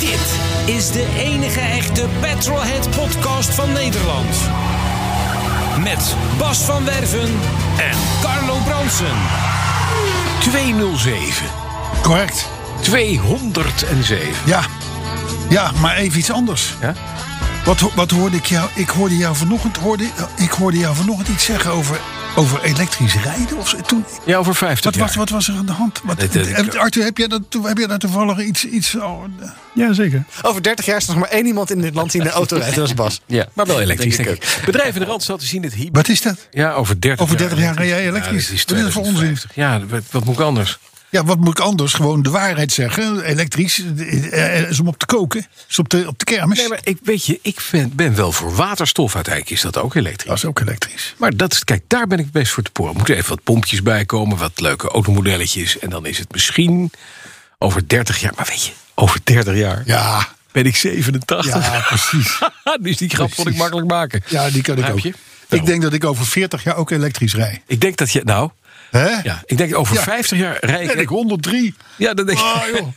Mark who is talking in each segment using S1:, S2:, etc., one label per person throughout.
S1: Dit is de enige echte Petrolhead podcast van Nederland. Met Bas van Werven en Carlo Bronsen.
S2: 207.
S3: Correct.
S2: 207.
S3: Ja. Ja, maar even iets anders.
S2: Ja?
S3: Wat, ho- wat hoorde ik jou? Ik hoorde jou vanochtend, hoorde, ik hoorde jou vanochtend iets zeggen over, over elektrisch rijden. Of zo. Toen,
S2: Ja, over 50
S3: wat,
S2: jaar.
S3: was, wat was er aan de hand? Wat,
S2: Dat, eh,
S3: heb- Arthur, heb jij, dat, toe- heb jij daar toevallig iets... iets oh, eh,
S4: Ja, zeker.
S5: Over 30 jaar is er nog maar één iemand in dit land die in de auto rijdt. Dat is Bas.
S2: Ja, maar wel elektrisch,
S5: Denk
S2: denk
S5: ik
S2: ik. Bedrijven in de Randstad zien het hybride.
S3: wat is dat?
S2: Ja, over 30
S3: Over 30 jaar rij jij
S2: Ja,
S3: elektrisch.
S2: dat is
S3: Wat is dat voor onzin?
S2: 2050. Ja, wat, wat moet ik anders?
S3: Ja, wat moet ik anders? Gewoon de waarheid zeggen. Elektrisch. eh, eh, Is om op te koken. Is op de, op de kermis.
S2: Nee, maar ik weet je, ik ben, ben wel voor waterstof. Uiteindelijk is dat ook elektrisch.
S3: Dat is ook elektrisch.
S2: Maar dat, is- kijk, daar ben ik best voor te poren. Er moeten even wat pompjes bij komen, wat leuke automodelletjes. En dan is het misschien over 30 jaar. Maar weet je, over 30 jaar
S3: Ja,
S2: ben ik 87.
S3: ja precies.
S2: dus die grap kon ik
S3: Precies.
S2: makkelijk maken.
S3: Ja, die kan ik
S2: Begrijp
S3: ook.
S2: je? Nou.
S3: Ik denk dat ik over 40 jaar ook elektrisch rij.
S2: Ik denk dat je, nou,
S3: Hè?
S2: ja, ik denk over
S3: Ja.
S2: 50 jaar rij
S3: En ik
S2: ik.
S3: 103.
S2: Ja, dat denk ik.
S3: Ah, joh.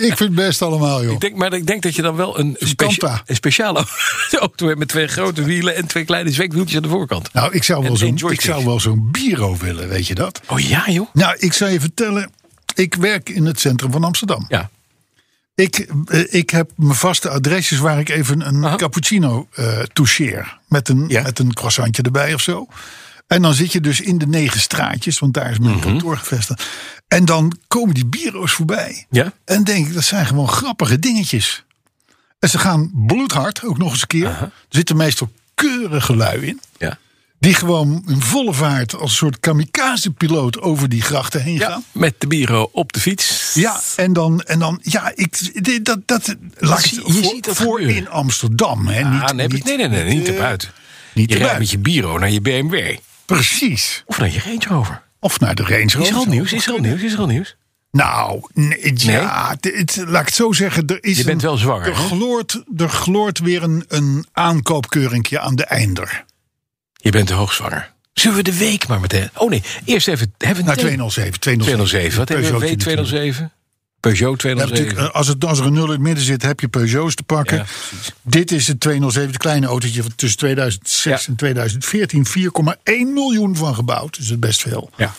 S3: ik vind het best allemaal, joh.
S2: Ik denk, maar ik denk dat je dan wel een,
S3: Kanta.
S2: een speciale auto hebt met twee grote wielen en twee kleine zwekwieltjes aan de voorkant.
S3: Nou, ik
S2: En
S3: zou wel
S2: één
S3: zo'n ik
S2: joystick.
S3: zou wel zo'n bureau willen, weet je dat?
S2: Oh ja, joh.
S3: Nou, ik zou je vertellen. Ik werk in het centrum van Amsterdam.
S2: Ja.
S3: Ik, eh, ik heb mijn vaste adresjes waar ik even een
S2: Aha.
S3: cappuccino eh toucheer. Met een,
S2: Ja.
S3: met een croissantje erbij of zo. En dan zit je dus in de negen straatjes, want daar is mijn
S2: Mhm.
S3: kantoor gevestigd. En dan komen die bureaus voorbij.
S2: Ja.
S3: En denk ik, dat zijn gewoon grappige dingetjes. En ze gaan bloedhard, ook nog eens een keer. Er zitten meestal keurige lui in.
S2: Ja.
S3: Die gewoon in volle vaart als een soort kamikaze-piloot over die grachten heen
S2: ja.
S3: gaan.
S2: Met de bureau op de fiets.
S3: Ja, en dan, en dan ja, ik, dit- dat, dat, laat ik
S2: zie-
S3: het
S2: je
S3: voor,
S2: ziet dat
S3: voor
S2: gebeuren.
S3: in Amsterdam. Hè,
S2: Ah,
S3: niet,
S2: nee,
S3: niet-
S2: nee, nee, nee, niet
S3: eh,
S2: eruit.
S3: niet
S2: je rijdt
S3: eruit.
S2: met je bureau naar je BMW.
S3: Precies.
S2: Of naar je Range Rover.
S3: Of naar de Range Rover.
S2: Is er al nieuws? Is er al nieuws? Is er al nieuws?
S3: Nou, nee, ja, het- het- laat ik het zo zeggen. Er is
S2: Je bent
S3: een-
S2: wel zwanger,
S3: Er
S2: hè?
S3: gloort, er gloort weer een, een aankoopkeuringje aan de einder.
S2: Je bent hoogzwanger. Zullen we de week maar meteen... Oh nee, eerst even... Hebben we
S3: Naar
S2: een
S3: 207.
S2: 207. Wat hebben we? W207? Peugeot
S3: Ja, natuurlijk,
S2: 207?
S3: eh, als, het, als er een nul in het midden zit, heb je Peugeots te pakken.
S2: Ja, precies.
S3: Dit is het 207, het kleine autootje van tussen 2006
S2: Ja.
S3: en 2014. 4,1 miljoen van gebouwd, dus dat is best veel.
S2: Ja.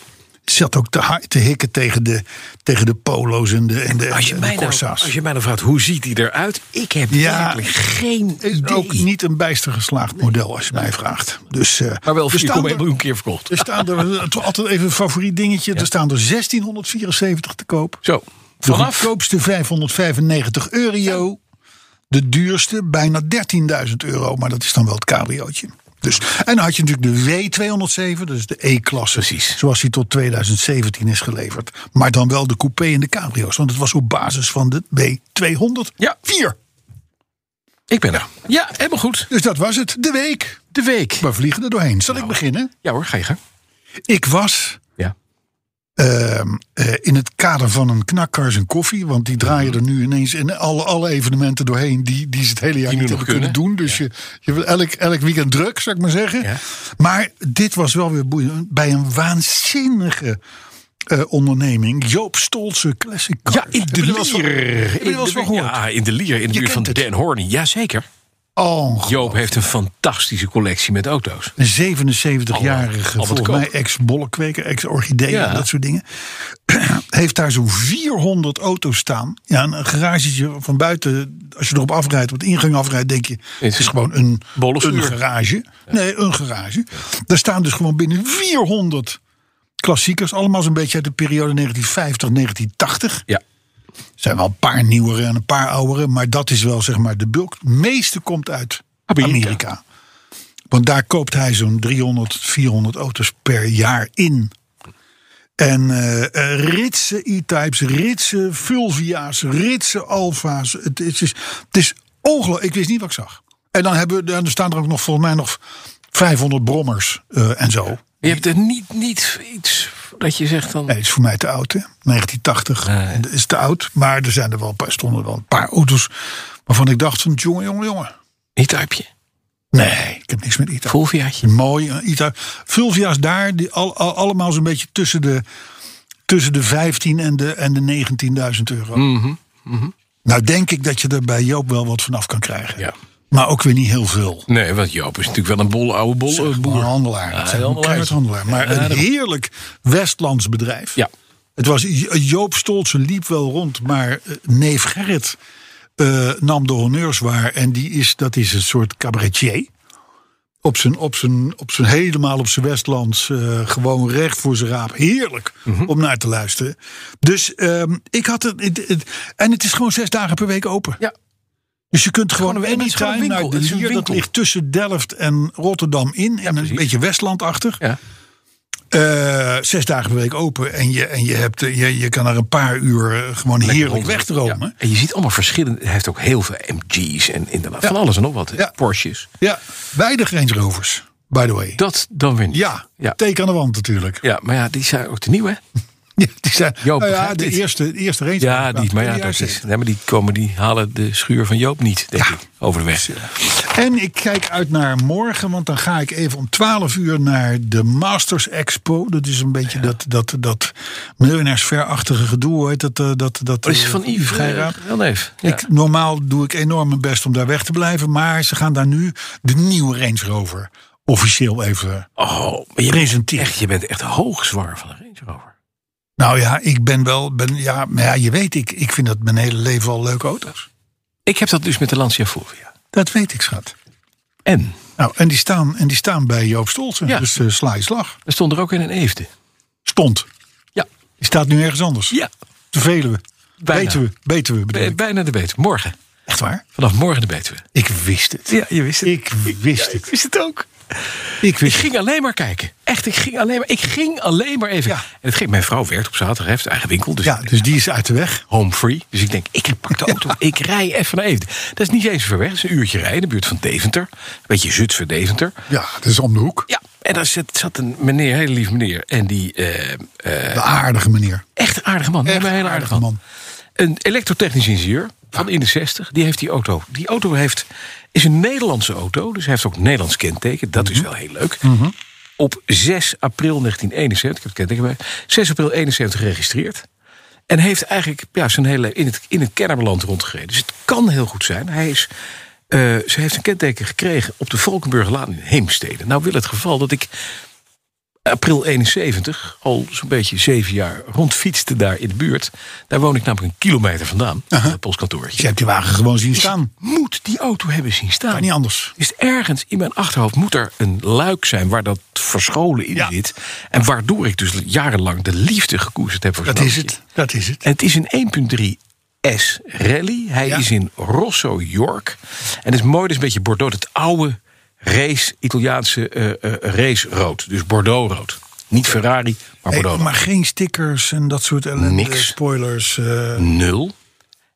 S3: Zat ook te, ha- te hikken tegen de, tegen de polo's en de, en de,
S2: Als je,
S3: en de
S2: mij nou,
S3: Corsa's.
S2: als je mij nou vraagt, hoe ziet die eruit? Ik heb
S3: Ja.
S2: eigenlijk geen
S3: is
S2: idee.
S3: ook niet een bijster geslaagd model, als je mij vraagt. Dus, eh,
S2: Maar wel
S3: er
S2: 4,1
S3: staan er-
S2: miljoen keer verkocht.
S3: Er staan er, toch altijd even een favoriet dingetje, er staan er 1674 te koop.
S2: Zo,
S3: De
S2: vanaf...
S3: goedkoopste 595 euro. De duurste bijna 13.000 euro. Maar dat is dan wel het cabriootje. Dus, en dan had je natuurlijk de W207, dus de E-klasse.
S2: Precies.
S3: Zoals die tot 2017 is geleverd. Maar dan wel de coupé en de cabrio's. Want het was op basis van de W200.
S2: Ja.
S3: Vier.
S2: Ik ben er. Ja, helemaal goed.
S3: Dus dat was het. De week.
S2: De week. Nou.
S3: We vliegen er doorheen. Zal ik beginnen?
S2: Ja hoor, ga je gang.
S3: Ik was
S2: Ja.
S3: ehm, eh, in het kader van een knakkars en koffie. Want die
S2: Mhm.
S3: draaien er nu ineens in alle, alle evenementen doorheen die, die ze het hele jaar
S2: Die nu
S3: niet
S2: nog
S3: hebben kunnen,
S2: kunnen.
S3: doen. Dus je, je wil elk, elk weekend druk, zou ik maar zeggen.
S2: Ja.
S3: Maar dit was wel weer boeiend. Bij een waanzinnige eh, onderneming. Joop Stolse Classic Cars.
S2: Ja, in
S3: Heb
S2: de
S3: je er wel eens van-
S2: Lier.
S3: Heb je er wel eens van gehoord?
S2: Ja, in de Lier, in de
S3: Je
S2: buurt van
S3: kent het.
S2: Den Horny. Jazeker.
S3: Oh,
S2: Joop heeft een fantastische collectie met auto's.
S3: Een 77-jarige,
S2: Oh, Albert
S3: volgens
S2: Koop.
S3: mij ex-bollekweker, ex-orchideeën
S2: Ja.
S3: en dat soort dingen. Heeft daar zo'n 400 auto's staan. Ja, een garagetje van buiten, als je erop afrijdt, op de ingang afrijdt, denk je... Het is gewoon een,
S2: Bolle schuur.
S3: een garage. Nee, een garage. Daar staan dus gewoon binnen 400 klassiekers. Allemaal zo'n beetje uit de periode 1950, 1980.
S2: Ja.
S3: zijn wel een paar nieuwere en een paar oudere. Maar dat is wel zeg maar de bulk. Het meeste komt uit
S2: Amerika.
S3: Amerika. Want daar koopt hij zo'n 300, 400 auto's per jaar in. En eh, eh, ritsen E-types, ritsen Fulvia's, ritsen Alfa's. Het, is- is, het is ongelooflijk. Ik wist niet wat ik zag. En dan hebben, we- dan staan er ook nog volgens mij nog 500 brommers eh, en zo.
S2: Je hebt er niet, niet iets dat je zegt dan...
S3: Nee, het is voor mij te oud, hè? 1980 Dat is te oud. Maar er, zijn er, wel een paar, stonden er wel een paar auto's waarvan ik dacht van... jongen, jongen, jongen.
S2: Niet typeje.
S3: Nee, ik heb niks met Ita.
S2: Volviaatje.
S3: Mooi, eh, Ita. Fulvia's daar, die al, al- allemaal zo'n beetje tussen de, tussen de 15 en de, en de 19.000 euro. Nou denk ik dat je er bij Joop wel wat vanaf kan krijgen.
S2: Ja.
S3: Maar ook weer niet heel veel.
S2: Nee, want Joop is natuurlijk wel een bol oude bol, eh,
S3: Zeg,
S2: boer.
S3: Een handelaar.
S2: Ja,
S3: Het zijn
S2: een
S3: een
S2: handelaar.
S3: keihardhandelaar. Maar een heerlijk Westlands bedrijf.
S2: Ja.
S3: Het was, Joop Stoltse liep wel rond, maar eh, neef Gerrit eh, nam de honneurs waar. En die is, dat is een soort cabaretier. Op zijn, op zijn, op zijn helemaal op zijn Westlands, eh, gewoon recht voor zijn raap. Heerlijk
S2: Mhm.
S3: om naar te luisteren. Dus ehm, ik had het, het- het- En het is gewoon zes dagen per week open.
S2: Ja.
S3: Dus je kunt gewoon,
S2: Gewoon een- het is gewoon
S3: anytime
S2: een
S3: naar
S2: winkel. Het
S3: de
S2: is een
S3: Lier. Dat
S2: winkel.
S3: ligt tussen Delft en Rotterdam in. en
S2: precies.
S3: een beetje Westlandachtig.
S2: Ja.
S3: Eh, zes dagen per week open. En je, en je, hebt, eh, je, je kan er een paar uur eh, gewoon heerlijk
S2: rond-
S3: wegdromen.
S2: Ja. En je ziet allemaal verschillende. Hij heeft ook heel veel MG's en inderdaad van alles en nog wat. hè.
S3: Ja.
S2: Porsches.
S3: Ja. weinig Range Rovers, by the way.
S2: Dat dan weer niet.
S3: Ja,
S2: Ja.
S3: teken aan de wand natuurlijk.
S2: Ja, maar ja, die zijn ook te nieuw, hè?
S3: Ja, die zijn,
S2: Joop
S3: nou ja,
S2: begrijpt
S3: de
S2: dit.
S3: eerste, de eerste Range
S2: Ja,
S3: Rover
S2: die,
S3: uit
S2: maar ja,
S3: 20
S2: dat
S3: jaar
S2: is, nee, maar die, komen, die halen de schuur van Joop niet, denk ik, over de weg.
S3: zeventig. En ik kijk uit naar morgen, want dan ga ik even om 12 uur naar de Masters Expo. Dat is een beetje dat, dat, dat miljonairsverachtige gedoe. Heet dat, eh, dat, dat,
S2: Oh, is het
S3: eh,
S2: van Yves
S3: Geiraat.
S2: Wel neef. Ja.
S3: Ik, normaal doe ik enorm mijn best om daar weg te blijven. Maar ze gaan daar nu de nieuwe Range Rover officieel even.
S2: oh, maar je bent,
S3: Presenteer.
S2: echt, je bent echt hoogzwaar van een Range Rover.
S3: Nou ja, ik ben wel. Ben, ja, maar ja, je weet, ik, ik vind dat mijn hele leven al leuke auto's.
S2: Ik heb dat dus met de Lancia Fulvia.
S3: Dat weet ik, schat.
S2: En,
S3: Nou, en die staan, en die staan bij Joop Stolzen.
S2: Ja.
S3: Dus eh, sla je slag.
S2: er stond er ook in een Eefde.
S3: Stond.
S2: Ja.
S3: Die staat nu ergens anders.
S2: Ja.
S3: Te Veluwe.
S2: Bijna.
S3: Betuwe. Betuwe bedoel
S2: Bij-
S3: ik.
S2: Bijna de Betuwe. Morgen.
S3: Echt waar?
S2: Vanaf morgen de Betuwe.
S3: Ik wist het.
S2: Ja, je wist het.
S3: Ik wist
S2: Ik
S3: het.
S2: wist het ook.
S3: Ik
S2: Ik
S3: wist het.
S2: ging alleen maar kijken. Echt, ik ging alleen maar, ik ging alleen maar even.
S3: Ja.
S2: En het ging, mijn vrouw werkt op zaterdag, heeft haar eigen winkel. Dus
S3: Ja, dus die is uit de weg.
S2: home free. Dus ik denk, ik pak de auto, ik rij even naar Eefde. Dat is niet eens zo ver weg, dat is een uurtje rijden, in de buurt van Deventer. Een beetje Zutphen, Deventer.
S3: Ja, dat is om de hoek.
S2: Ja, en daar zat, zat een meneer, een hele lief meneer. En die, eh, eh,
S3: De aardige meneer.
S2: echt een aardige man. Nee,
S3: Echt
S2: maar een hele
S3: een
S2: aardige
S3: aardige
S2: man. Een elektrotechnisch ingenieur van in de 60. Die heeft die auto. Die auto heeft, is een Nederlandse auto. Dus hij heeft ook een Nederlands kenteken. Dat is wel heel leuk. Op 6 april 1971, ik heb het kenteken bij. 6 april 71 geregistreerd. En heeft eigenlijk ja, zijn hele in het, in het Kennemerland rondgereden. Dus het kan heel goed zijn. Hij is, eh, ze heeft een kenteken gekregen op de Valkenburglaan in Heemstede. Nou wil het geval dat ik april 71, al zo'n beetje zeven jaar, rondfietste daar in de buurt. Daar woon ik namelijk een kilometer vandaan, van het
S3: Dus
S2: postkantoortje.
S3: je hebt die wagen gewoon zien staan.
S2: Moet die auto hebben zien staan.
S3: Kan niet anders.
S2: Is ergens in mijn achterhoofd moet er een luik zijn waar dat verscholen in
S3: Ja.
S2: zit. En waardoor ik dus jarenlang de liefde gekoesterd heb voor
S3: Dat
S2: zo'n
S3: is
S2: autootje.
S3: het. Dat is het.
S2: En het is een 1.3 S Rally. Hij
S3: Ja.
S2: is in Rosso, York. En het is mooi, dus een beetje Bordeaux. Het oude race, Italiaanse eh, eh, race rood. Dus Bordeaux rood. Niet Ferrari, maar
S3: Hey,
S2: Bordeaux rood.
S3: maar geen stickers en dat soort ellende,
S2: Niks.
S3: spoilers. eh,
S2: Nul.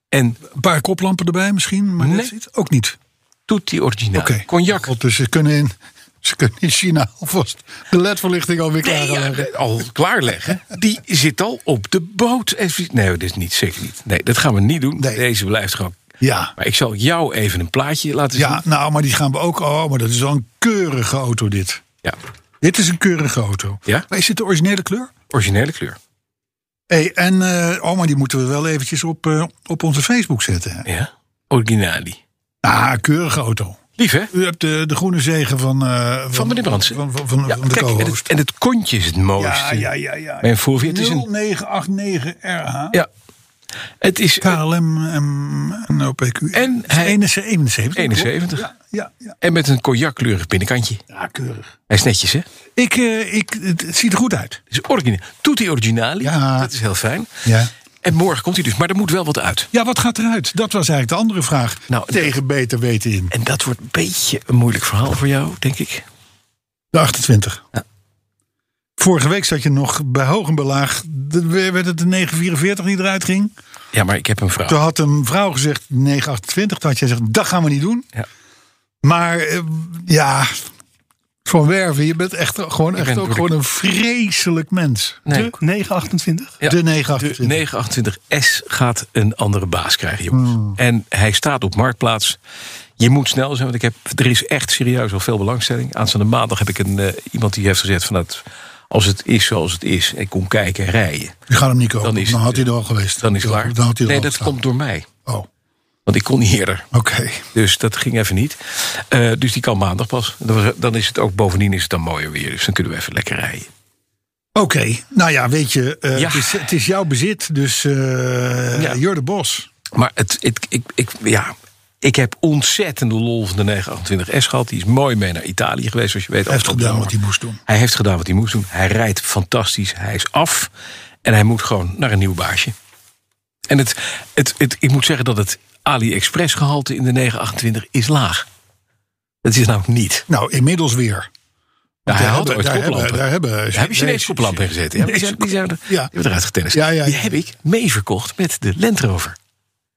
S2: En
S3: een paar koplampen erbij misschien, maar
S2: Nee.
S3: dat zit ook niet.
S2: tutti originale.
S3: Oké.
S2: Cognac.
S3: God, dus ze kunnen in, ze kunnen in China alvast de ledverlichting alweer
S2: Nee, ja,
S3: klaarleggen.
S2: al klaarleggen. Die zit al op de boot. Even- Nee, dat is niet, zeker niet. Nee, dat gaan we niet doen.
S3: Nee.
S2: Deze blijft gewoon.
S3: Ja.
S2: Maar ik zal jou even een plaatje laten zien.
S3: Ja, nou, maar die gaan we ook. Oh, maar dat is wel een keurige auto, dit.
S2: ja.
S3: Dit is een keurige auto.
S2: Ja?
S3: Maar is dit de originele kleur?
S2: Originele kleur.
S3: Hey, en, eh, oh, maar die moeten we wel eventjes op, eh, op onze Facebook zetten. hè?
S2: Ja. Originali.
S3: Ah, keurige auto.
S2: Lief, hè?
S3: U hebt de, de groene zegen van... eh,
S2: Van meneer Brandsen.
S3: Van, van, van,
S2: Ja,
S3: van de
S2: kijk, en het,
S3: co-host.
S2: en het kontje is het
S3: Ja,
S2: mooiste.
S3: ja, ja, ja.
S2: Mijn Fulvia, het is een-
S3: 0989RH.
S2: Ja. Het is eh,
S3: KLM en, en OPQ.
S2: En
S3: Het is
S2: hij-
S3: 71.
S2: 71.
S3: Ja, ja, ja.
S2: En met een cognackleurig binnenkantje.
S3: ja, keurig.
S2: Hij is netjes, hè? Het
S3: Ik, eh, ik, het, het ziet er goed uit.
S2: is origineel. Tutti originali.
S3: Ja.
S2: Dat is heel fijn.
S3: Ja.
S2: En morgen komt hij dus. Maar er moet wel wat uit.
S3: Ja, wat gaat eruit? Dat was eigenlijk de andere vraag.
S2: Nou,
S3: Tegen beter weten in.
S2: En dat wordt een beetje een moeilijk verhaal voor jou, denk ik.
S3: De 28. Vorige week zat je nog bij hoog en belaag. De- Werd het de 944 die eruit ging?
S2: Ja, maar ik heb een vraag.
S3: Toen had een vrouw gezegd 928. Toen had jij gezegd, dat gaan we niet doen.
S2: Ja.
S3: Maar eh, ja, Van Werven, je bent echt, gewoon, echt
S2: ben
S3: ook
S2: natuurlijk-
S3: gewoon een vreselijk mens.
S2: Nee.
S5: De 928.
S2: Ja.
S3: De 928.
S2: 928S gaat een andere baas krijgen, jongens.
S3: Hmm.
S2: En hij staat op Marktplaats. Je moet snel zijn, want ik heb, er is echt serieus al veel belangstelling. Aanstaande maandag heb ik een, eh, iemand die heeft gezegd... Van dat, als het is zoals het is, ik kom kijken en rijden.
S3: Je gaat hem niet kopen.
S2: Dan
S3: Dan,
S2: is het,
S3: had hij er al geweest.
S2: Dan is het klaar.
S3: Dan had hij er
S2: nee,
S3: al
S2: dat
S3: gestaan.
S2: komt door mij.
S3: Oh, oké.
S2: Want ik kon niet eerder. Dus dat ging even niet. Eh, dus die kan maandag pas. Dan- Dan is het ook bovendien is het dan mooier weer. Dus dan kunnen we even lekker rijden.
S3: Oké, nou ja, weet je, eh,
S2: Ja.
S3: Het, is, het is jouw bezit, dus eh
S2: Ja.
S3: you're the boss.
S2: Maar het, het, ik, ik, ja, ik heb ontzettende lol van de 928S gehad. Die is mooi mee naar Italië geweest, zoals je weet.
S3: Hij heeft
S2: afgelopen
S3: gedaan wat hij
S2: zomer.
S3: moest doen.
S2: Hij heeft gedaan wat hij moest doen. Hij rijdt fantastisch. Hij is af. En hij moet gewoon naar een nieuw baasje. En het, het, het, ik moet zeggen dat het AliExpress gehalte in de 928 is laag. Dat is namelijk niet.
S3: Nou, inmiddels weer.
S2: Nou, hij had
S3: Daar hebben-
S2: ooit
S3: daar
S2: koplampen.
S3: hebben- daar hebben
S2: Daar hebben Chinese
S3: Chinese-
S2: koplampen in gezeten. Ja, die zijn, die zijn er, die
S3: Ja.
S2: hebben eruit getennist.
S3: Ja, ja, ja.
S2: Die heb ik meeverkocht met de Land Rover.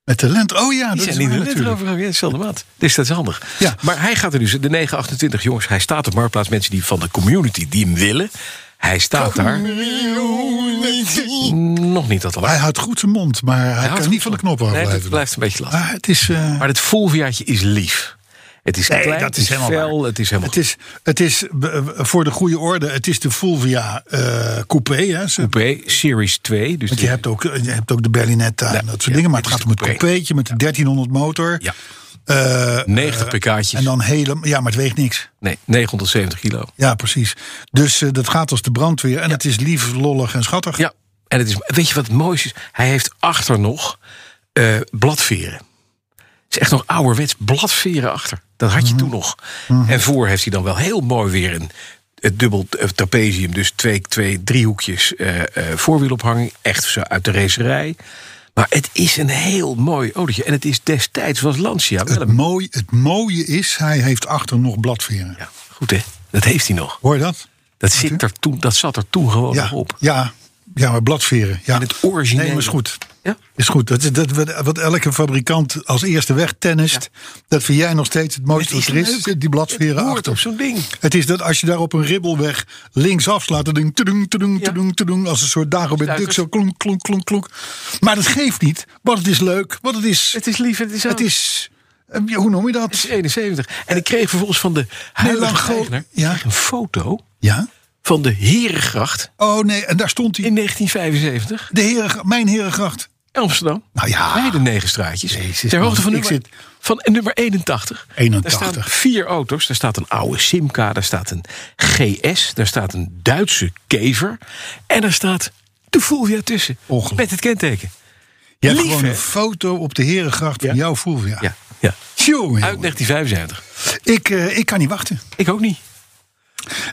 S3: Met de lente. Oh ja,
S2: Die
S3: dat is
S2: zijn niet
S3: waar,
S2: de Land
S3: natuurlijk.
S2: Rover, ja, hetzelfde maat. Dus dat is handig.
S3: Ja.
S2: Maar hij gaat er dus, de 928, jongens, hij staat op Marktplaats. Mensen die van de community die hem willen. Hij staat daar. Nog niet dat al.
S3: Hij houdt goed zijn mond, maar hij,
S2: houdt
S3: kan
S2: goed
S3: niet van de knop
S2: Nee,
S3: afblijven.
S2: dat blijft een beetje lastig.
S3: Maar het is, eh,
S2: Maar het volverjaartje is lief. Het is
S3: Nee,
S2: klein,
S3: dat
S2: het
S3: is
S2: is
S3: helemaal
S2: fel, het is helemaal
S3: het is, het is eh, voor de goede orde, het is de Fulvia eh, coupé. Hè, ze-
S2: coupé, Series 2. Dus
S3: Want je
S2: die-
S3: hebt ook, eh, je hebt ook de Berlinetta en dat soort
S2: ja,
S3: dingen. Maar het
S2: dit is
S3: gaat om het
S2: de coupé.
S3: coupeetje met de 1300 motor.
S2: Ja.
S3: Eh,
S2: 90 pk'tjes.
S3: en dan helemaal... Ja, maar het weegt niks.
S2: Nee, 970 kilo.
S3: Ja, precies. Dus eh, dat gaat als de brandweer. En het is lief, lollig en schattig.
S2: Ja, en het is, weet je wat het mooiste is? Hij heeft achter nog eh, bladveren. Het is echt nog ouderwets bladveren achter. Dat had je
S3: Mhm.
S2: toen nog. En voor heeft hij dan wel heel mooi weer een, het dubbel eh, trapezium. Dus twee, twee driehoekjes eh eh, voorwielophanging. Echt zo uit de racerij. Maar het is een heel mooi autootje. En het is destijds, was Lancia wel
S3: Het,
S2: een...
S3: mooi, het mooie is, hij heeft achter nog bladveren.
S2: Ja, goed hè? Dat heeft hij nog.
S3: Hoor je dat?
S2: Dat, zit er toen, dat zat er toen gewoon nog
S3: Ja,
S2: op.
S3: ja, ja, maar bladveren. Ja.
S2: En het originele.
S3: Nee, maar is goed.
S2: Ja?
S3: Is goed. Dat, is- dat, wat- wat elke fabrikant als eerste wegtennist. Dat vind jij nog steeds het mooiste
S2: Het
S3: wat
S2: is
S3: er is.
S2: leuk.
S3: Die bladveren
S2: Het hoort
S3: achter.
S2: op zo'n ding.
S3: Het is dat als je daar op een ribbelweg links afslaat. Dan ding, tudung, tudung,
S2: Ja.
S3: tudung, tudung. Als een soort Dagobert Duck.
S2: Stuiters.
S3: Zo klonk, klonk, klonk, klonk. Maar dat geeft niet. Want het is leuk. Want het is...
S2: Het is lief, het is
S3: Het is eh, hoe noem je
S2: Het
S3: dat?
S2: is 71. En ik kreeg vervolgens van de huidige
S3: Melancho-
S2: eigenaar
S3: Ja.
S2: kreeg een foto
S3: Ja?
S2: van de Herengracht
S3: Oh nee, en daar stond hij.
S2: in 1975.
S3: De heren, mijn herengracht.
S2: Amsterdam.
S3: Nou ja.
S2: Bij de negen straatjes.
S3: Jezus,
S2: ter hoogte van
S3: man.
S2: nummer,
S3: Ik
S2: van nummer 81.
S3: 81.
S2: Daar staan vier auto's. Daar staat een oude Simca. Daar staat een GS. Daar staat een Duitse kever. En daar staat de Fulvia tussen.
S3: Ongelooflijk.
S2: Met het kenteken.
S3: Je hebt
S2: Lief,
S3: gewoon
S2: hè?
S3: een foto op de herengracht van
S2: Ja.
S3: jouw Fulvia.
S2: Ja, ja. Uit
S3: Tjonge, jonge.
S2: 1975.
S3: ik, eh, ik kan niet wachten.
S2: Ik ook niet.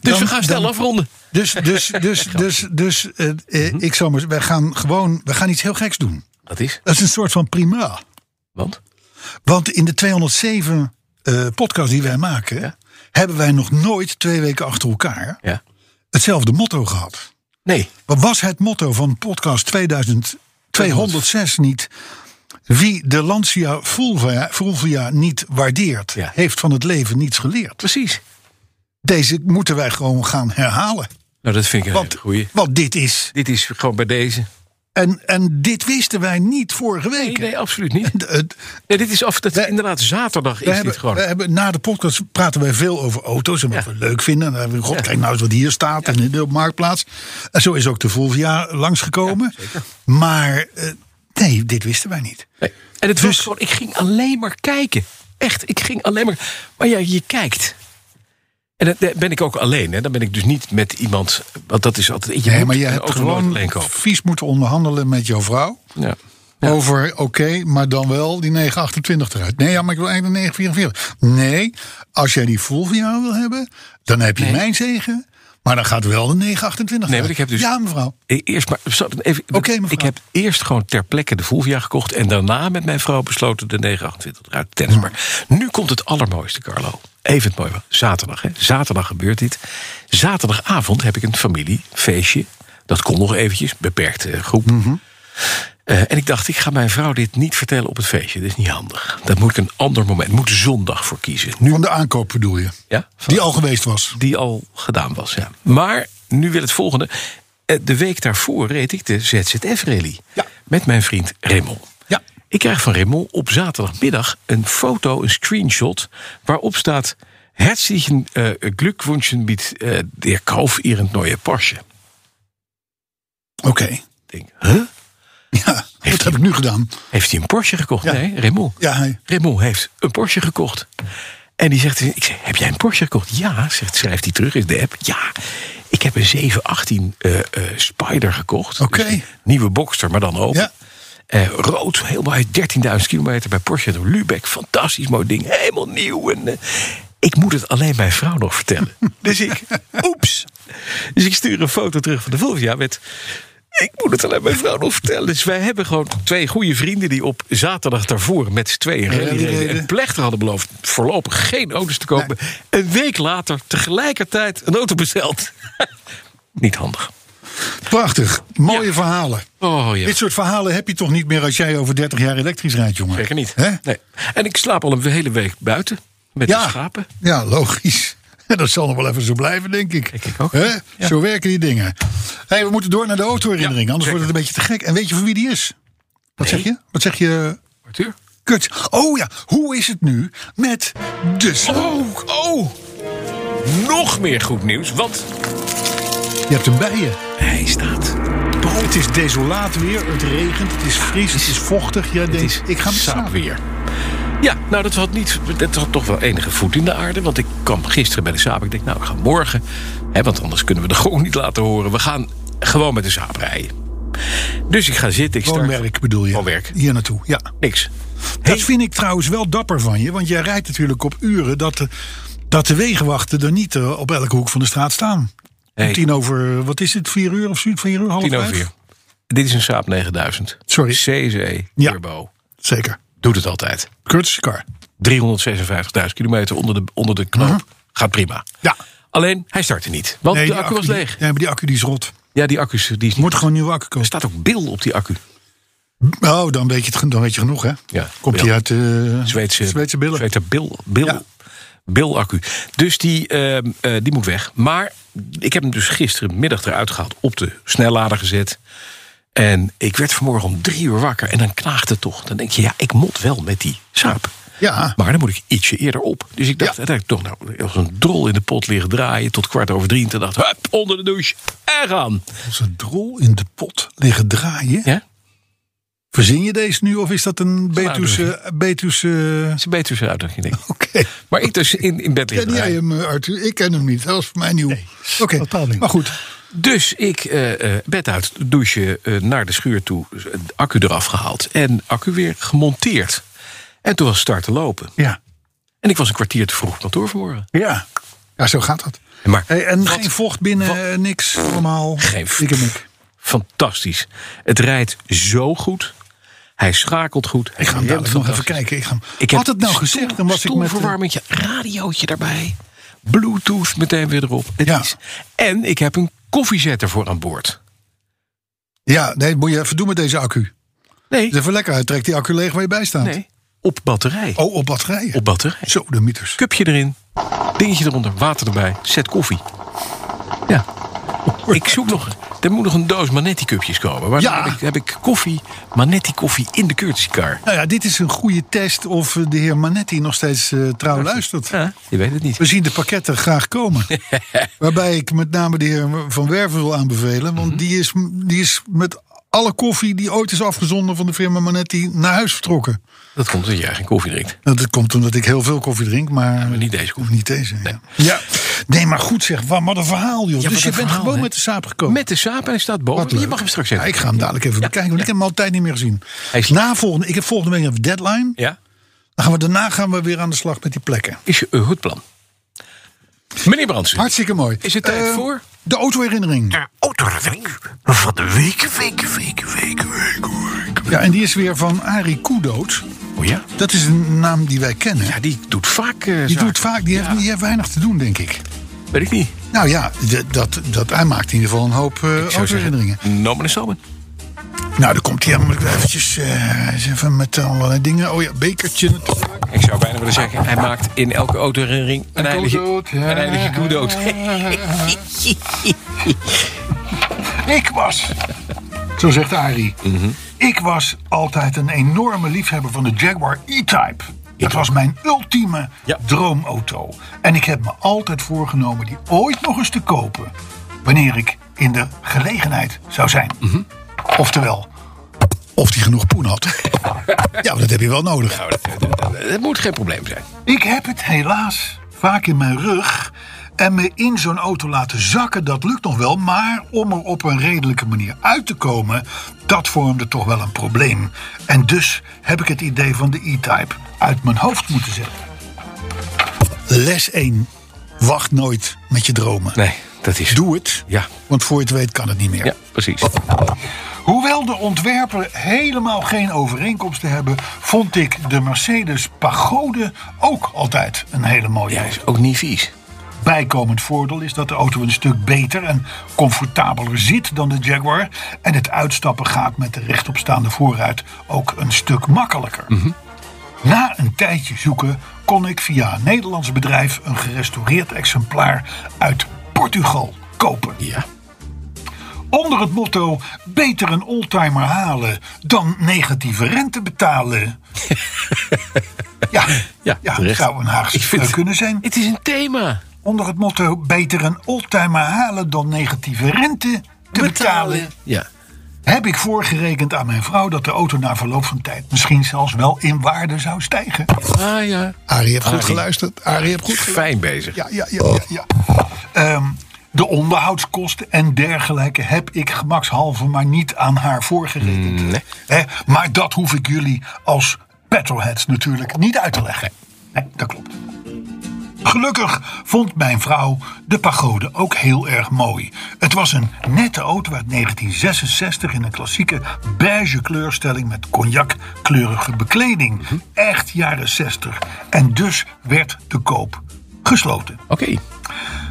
S2: Dus
S3: Dan-
S2: we gaan snel
S3: dan-
S2: afronden.
S3: Dus, dus, dus, dus, dus eh, eh, ik zal maar, wij gaan gewoon wij gaan iets heel geks doen.
S2: Dat is,
S3: Dat is een soort van prima.
S2: want...
S3: Want in de 207 eh podcast die wij maken,
S2: Ja.
S3: hebben wij nog nooit twee weken achter elkaar
S2: Ja.
S3: hetzelfde motto gehad.
S2: Nee.
S3: Wat was het motto van podcast 2206 niet? Wie de Lancia Fulvia, Fulvia niet waardeert,
S2: Ja.
S3: heeft van het leven niets geleerd.
S2: Precies.
S3: Deze moeten wij gewoon gaan herhalen.
S2: Nou, dat vind ik een
S3: Want,
S2: hele goeie.
S3: want dit is.
S2: Dit is gewoon bij deze.
S3: En, en dit wisten wij niet vorige
S2: Nee,
S3: week.
S2: nee, absoluut niet.
S3: Het- het-
S2: eh, Nee, dit is af, dat,
S3: We-
S2: inderdaad, zaterdag is
S3: we
S2: dit
S3: hebben,
S2: gewoon.
S3: we hebben, na de podcast praten wij veel over auto's en wat
S2: Ja.
S3: we leuk vinden. En dan hebben we, god,
S2: Ja.
S3: kijk nou eens wat hier staat en in de marktplaats. En zo is ook de Fulvia langsgekomen. maar eh, nee, dit wisten wij niet.
S2: Nee. En het was
S3: Dus-
S2: gewoon, ik ging alleen maar kijken. Echt, ik ging alleen maar. Maar ja, je kijkt. En dan- dan ben ik ook alleen, hè? Dan ben ik dus niet met iemand. Want dat is altijd. Je
S3: Nee,
S2: moet
S3: maar je
S2: een
S3: hebt
S2: auto nooit
S3: gewoon
S2: alleen kopen.
S3: vies moeten onderhandelen met jouw vrouw.
S2: Ja.
S3: Over, oké, maar dan wel die 928 eruit. Nee, ja, maar ik wil eigenlijk de 944. Nee, als jij die Fulvia wil hebben, dan heb je mijn zegen. Maar dan gaat wel de 928.
S2: Nee, want ik heb dus-
S3: Ja, mevrouw.
S2: E- Eerst maar, zo, even,
S3: Oké, mevrouw.
S2: ik heb eerst gewoon ter plekke de Fulvia gekocht. En daarna met mijn vrouw besloten de 928 eruit te tennis. Maar nu komt het allermooiste, Carlo. Even het mooie. Zaterdag, hè? Zaterdag gebeurt dit. Zaterdagavond heb ik een familiefeestje. Dat kon nog eventjes, beperkte eh, groep.
S3: Mhm.
S2: Eh, en ik dacht, ik ga mijn vrouw dit niet vertellen op het feestje. Dat is niet handig. Daar moet ik een ander moment, moet zondag voor kiezen. Nu,
S3: Van de aankoop bedoel je?
S2: ja?
S3: Die al geweest was.
S2: die al gedaan was. Ja. Maar nu wil het volgende. Eh, De week daarvoor reed ik de ZZF-rally.
S3: Ja.
S2: Met mijn vriend Remmel.
S3: Ja.
S2: Ik krijg van Remmel op zaterdagmiddag een foto, een screenshot... waarop staat... Herzlichen eh, Glückwunsch mit eh, der Kauf Ihren neue Porsche. Ik
S3: Oké.
S2: denk, huh?
S3: Ja, dat heb ik nu gedaan.
S2: Heeft hij een Porsche gekocht?
S3: Ja.
S2: Nee, Remmel.
S3: Ja, hij-
S2: Raymond heeft een Porsche gekocht. En die zegt, ik zeg, heb jij een Porsche gekocht? Ja, zegt, schrijft hij terug in de app. Ja, ik heb een 718 eh eh, Spider gekocht. Dus
S3: Oké.
S2: een nieuwe Boxster, maar dan open.
S3: Ja.
S2: Eh, rood, heel mooi, 13.000 kilometer bij Porsche door Lübeck. Fantastisch mooi ding, helemaal nieuw. En, eh, ik moet het alleen mijn vrouw nog vertellen. dus ik, oeps. Dus ik stuur een foto terug van de Volvia met... Ik moet het alleen mijn vrouw nog vertellen. Dus wij hebben gewoon twee goede vrienden die op zaterdag daarvoor met z'n tweeën rally
S3: Rally
S2: reden.
S3: reden.
S2: En plechtig hadden beloofd voorlopig geen auto's te kopen. Een week later tegelijkertijd een auto besteld. Niet handig.
S3: Prachtig. Mooie verhalen.
S2: Oh ja.
S3: Dit soort verhalen heb je toch niet meer als jij over 30 jaar elektrisch rijdt, jongen?
S2: Zeker niet.
S3: Hè?
S2: Nee. En ik slaap al een hele week buiten. Met de schapen.
S3: Ja, logisch. En dat zal nog wel even zo blijven, denk ik.
S2: Denk ik ook.
S3: Hè? Zo werken die dingen. Hey, we moeten door naar de autoherinnering,
S2: Ja,
S3: anders wordt het een beetje te gek. En weet je voor wie die is? Wat
S2: Nee.
S3: zeg je? Wat zeg je?
S2: Arthur?
S3: Kut. Oh ja, hoe is het nu met de sloop?
S2: Oh, oh. Nog meer goed nieuws, want
S3: Je hebt hem bij je.
S2: hij staat.
S3: Het is desolaat weer, het regent, het is fris, het is vochtig. Jij denkt,
S2: is
S3: ik ga met
S2: saap
S3: slapen.
S2: weer. Ja, nou dat had, niet, dat had toch wel enige voet in de aarde. Want ik kwam gisteren bij de saap. Ik denk, nou ik ga morgen. Hè, want anders kunnen we de gong niet laten horen. We gaan gewoon met de saap rijden. Dus ik ga zitten. Ik start.
S3: Woonwerk bedoel je?
S2: Woonwerk.
S3: Hier naartoe, ja.
S2: Niks.
S3: Dat vind ik trouwens wel dapper van je. Want jij rijdt natuurlijk op uren dat de, dat de wegenwachten er niet eh, op elke hoek van de straat staan.
S2: Nee.
S3: Om Tien over, wat is het, vier uur of zoiets? Vier uur, half
S2: Tien over
S3: vijf?
S2: vier. Dit is een saap 9000.
S3: Sorry.
S2: CZE
S3: Ja.
S2: Turbo.
S3: Zeker.
S2: Doet het altijd.
S3: Curtis car.
S2: 356.000 kilometer onder de, onder de knoop. Gaat prima.
S3: Mhm. Ja.
S2: Alleen, hij startte niet. Want
S3: Nee,
S2: de
S3: die
S2: accu was
S3: die-
S2: leeg.
S3: Nee, maar die accu die is rot.
S2: Ja, die accu's. Die is niet-
S3: Moet gewoon een nieuwe accu
S2: Er
S3: kopen.
S2: staat ook bil op die accu.
S3: Oh, dan weet je, het, gen- dan weet je genoeg, hè?
S2: Ja.
S3: Komt die
S2: Ja.
S3: uit de
S2: Zweedse,
S3: Zweedse billen.
S2: Zweedse bil, bil,
S3: Ja.
S2: bilaccu. Dus die, ehm, eh, die moet weg. Maar ik heb hem dus gisterenmiddag eruit gehaald. Op de snellader gezet. En ik werd vanmorgen om drie uur wakker. En dan knaagt het toch. Dan denk je, ja, ik moet wel met die saap.
S3: Ja.
S2: Maar dan moet ik ietsje eerder op. Dus ik dacht,
S3: Ja.
S2: uiteindelijk toch nou, als een drol in de pot liggen draaien. Tot kwart over drie. En toen dacht, hup, onder de douche. En gaan.
S3: Als een drol in de pot liggen draaien.
S2: Ja,
S3: Verzin je deze nu of is dat een
S2: een
S3: Betuwse... Betuwse...
S2: dat is een betere uitdaging, denk ik.
S3: Oké.
S2: Maar ik dus in, in bed liggen
S3: Ken jij
S2: draaien.
S3: hem, eh, Arthur? Ik ken hem niet. Dat is voor mij nieuw. Oké,
S5: totaal niet.
S3: maar goed.
S2: Dus ik eh, eh, bed uit, douchen, eh, naar de schuur toe, eh, de accu eraf gehaald en accu weer gemonteerd. En toen was het start te lopen.
S3: Ja.
S2: En ik was een kwartier te vroeg op kantoor vanmorgen.
S3: Ja. Ja, zo gaat dat.
S2: Maar
S3: Hey, en
S2: wat
S3: geen vocht binnen, eh, niks. Allemaal.
S2: Geen
S3: ik en ik.
S2: fantastisch. Het rijdt zo goed. Hij schakelt goed. Hij
S3: Ik ga
S2: remt
S3: hem dadelijk nog even
S2: fantastisch.
S3: kijken. Ik, ga hem,
S2: Ik
S3: had het nou gezegd, dan was ik met... eh,
S2: verwarming, radiootje daarbij. Bluetooth meteen weer erop. Het
S3: Ja.
S2: is- en ik heb een koffiezetter voor aan boord.
S3: Ja, nee, moet je even doen met deze accu.
S2: Nee,
S3: Het is even lekker uit. Trek die accu leeg waar je bij staat.
S2: nee. op batterij.
S3: Oh, op batterijen.
S2: Op batterij.
S3: Zo, de mieters.
S2: cupje erin, dingetje eronder, water erbij, zet koffie. Ja. Ik zoek nog. Er moet nog een doos Manetti cupjes komen. Maar
S3: Ja.
S2: dan heb ik, heb ik koffie, Manetti koffie in de courtesy car.
S3: Nou ja, dit is een goede test of eh, de heer Manetti nog steeds eh, trouw luistert.
S2: Ja, je weet het niet.
S3: We zien de pakketten graag komen. Waarbij ik met name de heer Van Werven wil aanbevelen.
S2: Mhm.
S3: Want die, is, die is met alle koffie die ooit is afgezonden van de firma Manetti naar huis vertrokken.
S2: Dat komt omdat jij geen koffie drinkt.
S3: Nou, dat komt omdat ik heel veel koffie drink, maar,
S2: Maar niet deze koffie.
S3: niet deze. Ja. Ja. nee, maar goed zeg, wa- wat een verhaal joh.
S2: wat
S3: dus je
S2: een
S3: bent
S2: verhaal,
S3: gewoon
S2: hè?
S3: met de saap gekomen.
S2: Met de saap en hij staat boven.
S3: Wat leuk.
S2: Je mag hem straks
S3: ja,
S2: even.
S3: ik ga hem dadelijk even bekijken, want ik heb hem al tijd niet meer gezien.
S2: Hij is-
S3: Na volgende, ik heb volgende week een deadline.
S2: Ja?
S3: Dan gaan we, daarna gaan we weer aan de slag met die plekken.
S2: Is je een goed plan? Meneer Brandsen,
S3: Hartstikke mooi.
S2: is het tijd
S3: Eh,
S2: voor?
S3: De autoherinnering.
S4: de autoring van de week, week, week, week, week, week.
S3: Ja, en die is weer van Arie Kudoot.
S4: Oh ja?
S3: Dat is een naam die wij kennen.
S2: Ja, die doet vaak. eh,
S3: die
S2: zaken.
S3: doet vaak, die, heeft, die heeft weinig te doen, denk ik.
S2: Weet ik niet.
S3: Nou ja, d- dat, dat, hij maakt in ieder geval een hoop eh autoherinneringen.
S2: Nomen en Salmen.
S3: Nou, dan komt hij aan. Moet ik eventjes eh, eens even met allerlei dingen. Oh ja, bekertje.
S2: Ik zou bijna willen zeggen, hij maakt in elke autoherinnering een heilige,
S3: kudoot, ja.
S2: een heilige kudoot.
S3: Ik was, zo zegt Arie, ik was altijd een enorme liefhebber van de Jaguar E-Type. Dat was mijn ultieme
S2: Ja.
S3: droomauto. En ik heb me altijd voorgenomen die ooit nog eens te kopen. Wanneer ik in de gelegenheid zou zijn. Oftewel, of die genoeg poen had. ja, maar Nou, dat heb je wel nodig.
S2: Dat moet geen probleem zijn.
S3: Ik heb het helaas vaak in mijn rug. En me in zo'n auto laten zakken, dat lukt nog wel. Maar om er op een redelijke manier uit te komen, dat vormde toch wel een probleem. En dus heb ik het idee van de E-Type uit mijn hoofd moeten zetten. Les 1. Wacht nooit met je dromen.
S2: Nee, dat is...
S3: Doe het,
S2: Ja.
S3: want voor je het weet kan het niet meer.
S2: Ja, precies.
S3: Hoewel de ontwerpen helemaal geen overeenkomsten hebben, vond ik de Mercedes Pagode ook altijd een hele mooie.
S2: Ja,
S3: auto.
S2: is ook niet vies.
S3: Bijkomend voordeel is dat de auto een stuk beter en comfortabeler zit dan de Jaguar. En het uitstappen gaat met de rechtopstaande voorruit ook een stuk makkelijker.
S2: Mhm.
S3: Na een tijdje zoeken kon ik via een Nederlands bedrijf een gerestaureerd exemplaar uit Portugal kopen.
S2: Ja.
S3: Onder het motto: beter een oldtimer halen dan negatieve rente betalen. ja, ja,
S2: Ja, terecht.
S3: zou een Haagse
S2: Ik vind-
S3: spreuk kunnen zijn.
S2: Het is een thema.
S3: Onder het motto: beter een oldtimer halen dan negatieve rente te betalen.
S2: Ja.
S3: Heb ik voorgerekend aan mijn vrouw dat de auto na verloop van tijd misschien zelfs wel in waarde zou stijgen.
S2: Ah ja.
S3: Arie heeft goed geluisterd. Arie heeft goed
S2: Fijn bezig.
S3: ja, ja, ja. ja, ja. Ehm, de onderhoudskosten en dergelijke heb ik gemakshalve maar niet aan haar voorgerekend. Hè, maar dat hoef ik jullie als petrolheads natuurlijk niet uit te leggen. Nee, dat klopt. Gelukkig vond mijn vrouw de pagode ook heel erg mooi. Het was een nette auto uit 1966 in een klassieke beige kleurstelling met cognac-kleurige bekleding. Echt jaren 60. En dus werd de koop gesloten.
S2: Oké.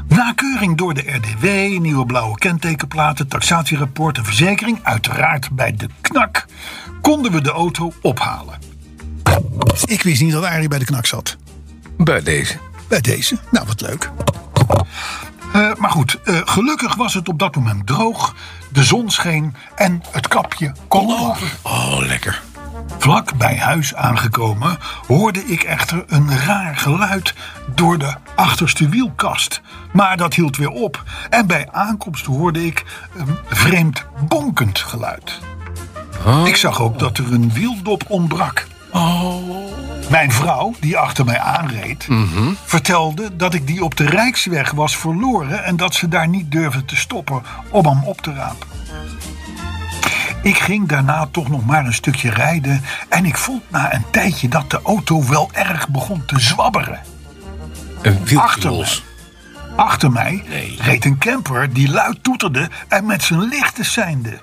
S3: Na keuring door de RDW, nieuwe blauwe kentekenplaten, taxatierapport en verzekering, uiteraard bij de knak, konden we de auto ophalen. Ik wist niet dat Arie bij de knak zat.
S2: Bij deze.
S3: Bij deze. Nou, wat leuk. Eh, maar goed, eh, gelukkig was het op dat moment droog. De zon scheen en het kapje kon over.
S2: Oh, lekker.
S3: Vlak bij huis aangekomen hoorde ik echter een raar geluid door de achterste wielkast. Maar dat hield weer op en bij aankomst hoorde ik een vreemd bonkend geluid. Ik zag ook dat er een wieldop ontbrak. Mijn vrouw, die achter mij aanreed, vertelde dat ik die op de Rijksweg was verloren en dat ze daar niet durfde te stoppen om hem op te rapen. Ik ging daarna toch nog maar een stukje rijden en ik vond na een tijdje dat de auto wel erg begon te zwabberen.
S2: Een
S3: Achter
S2: wieltje
S3: mij.
S2: los.
S3: Achter mij
S2: Nee.
S3: reed een camper die luid toeterde en met zijn lichten seinde.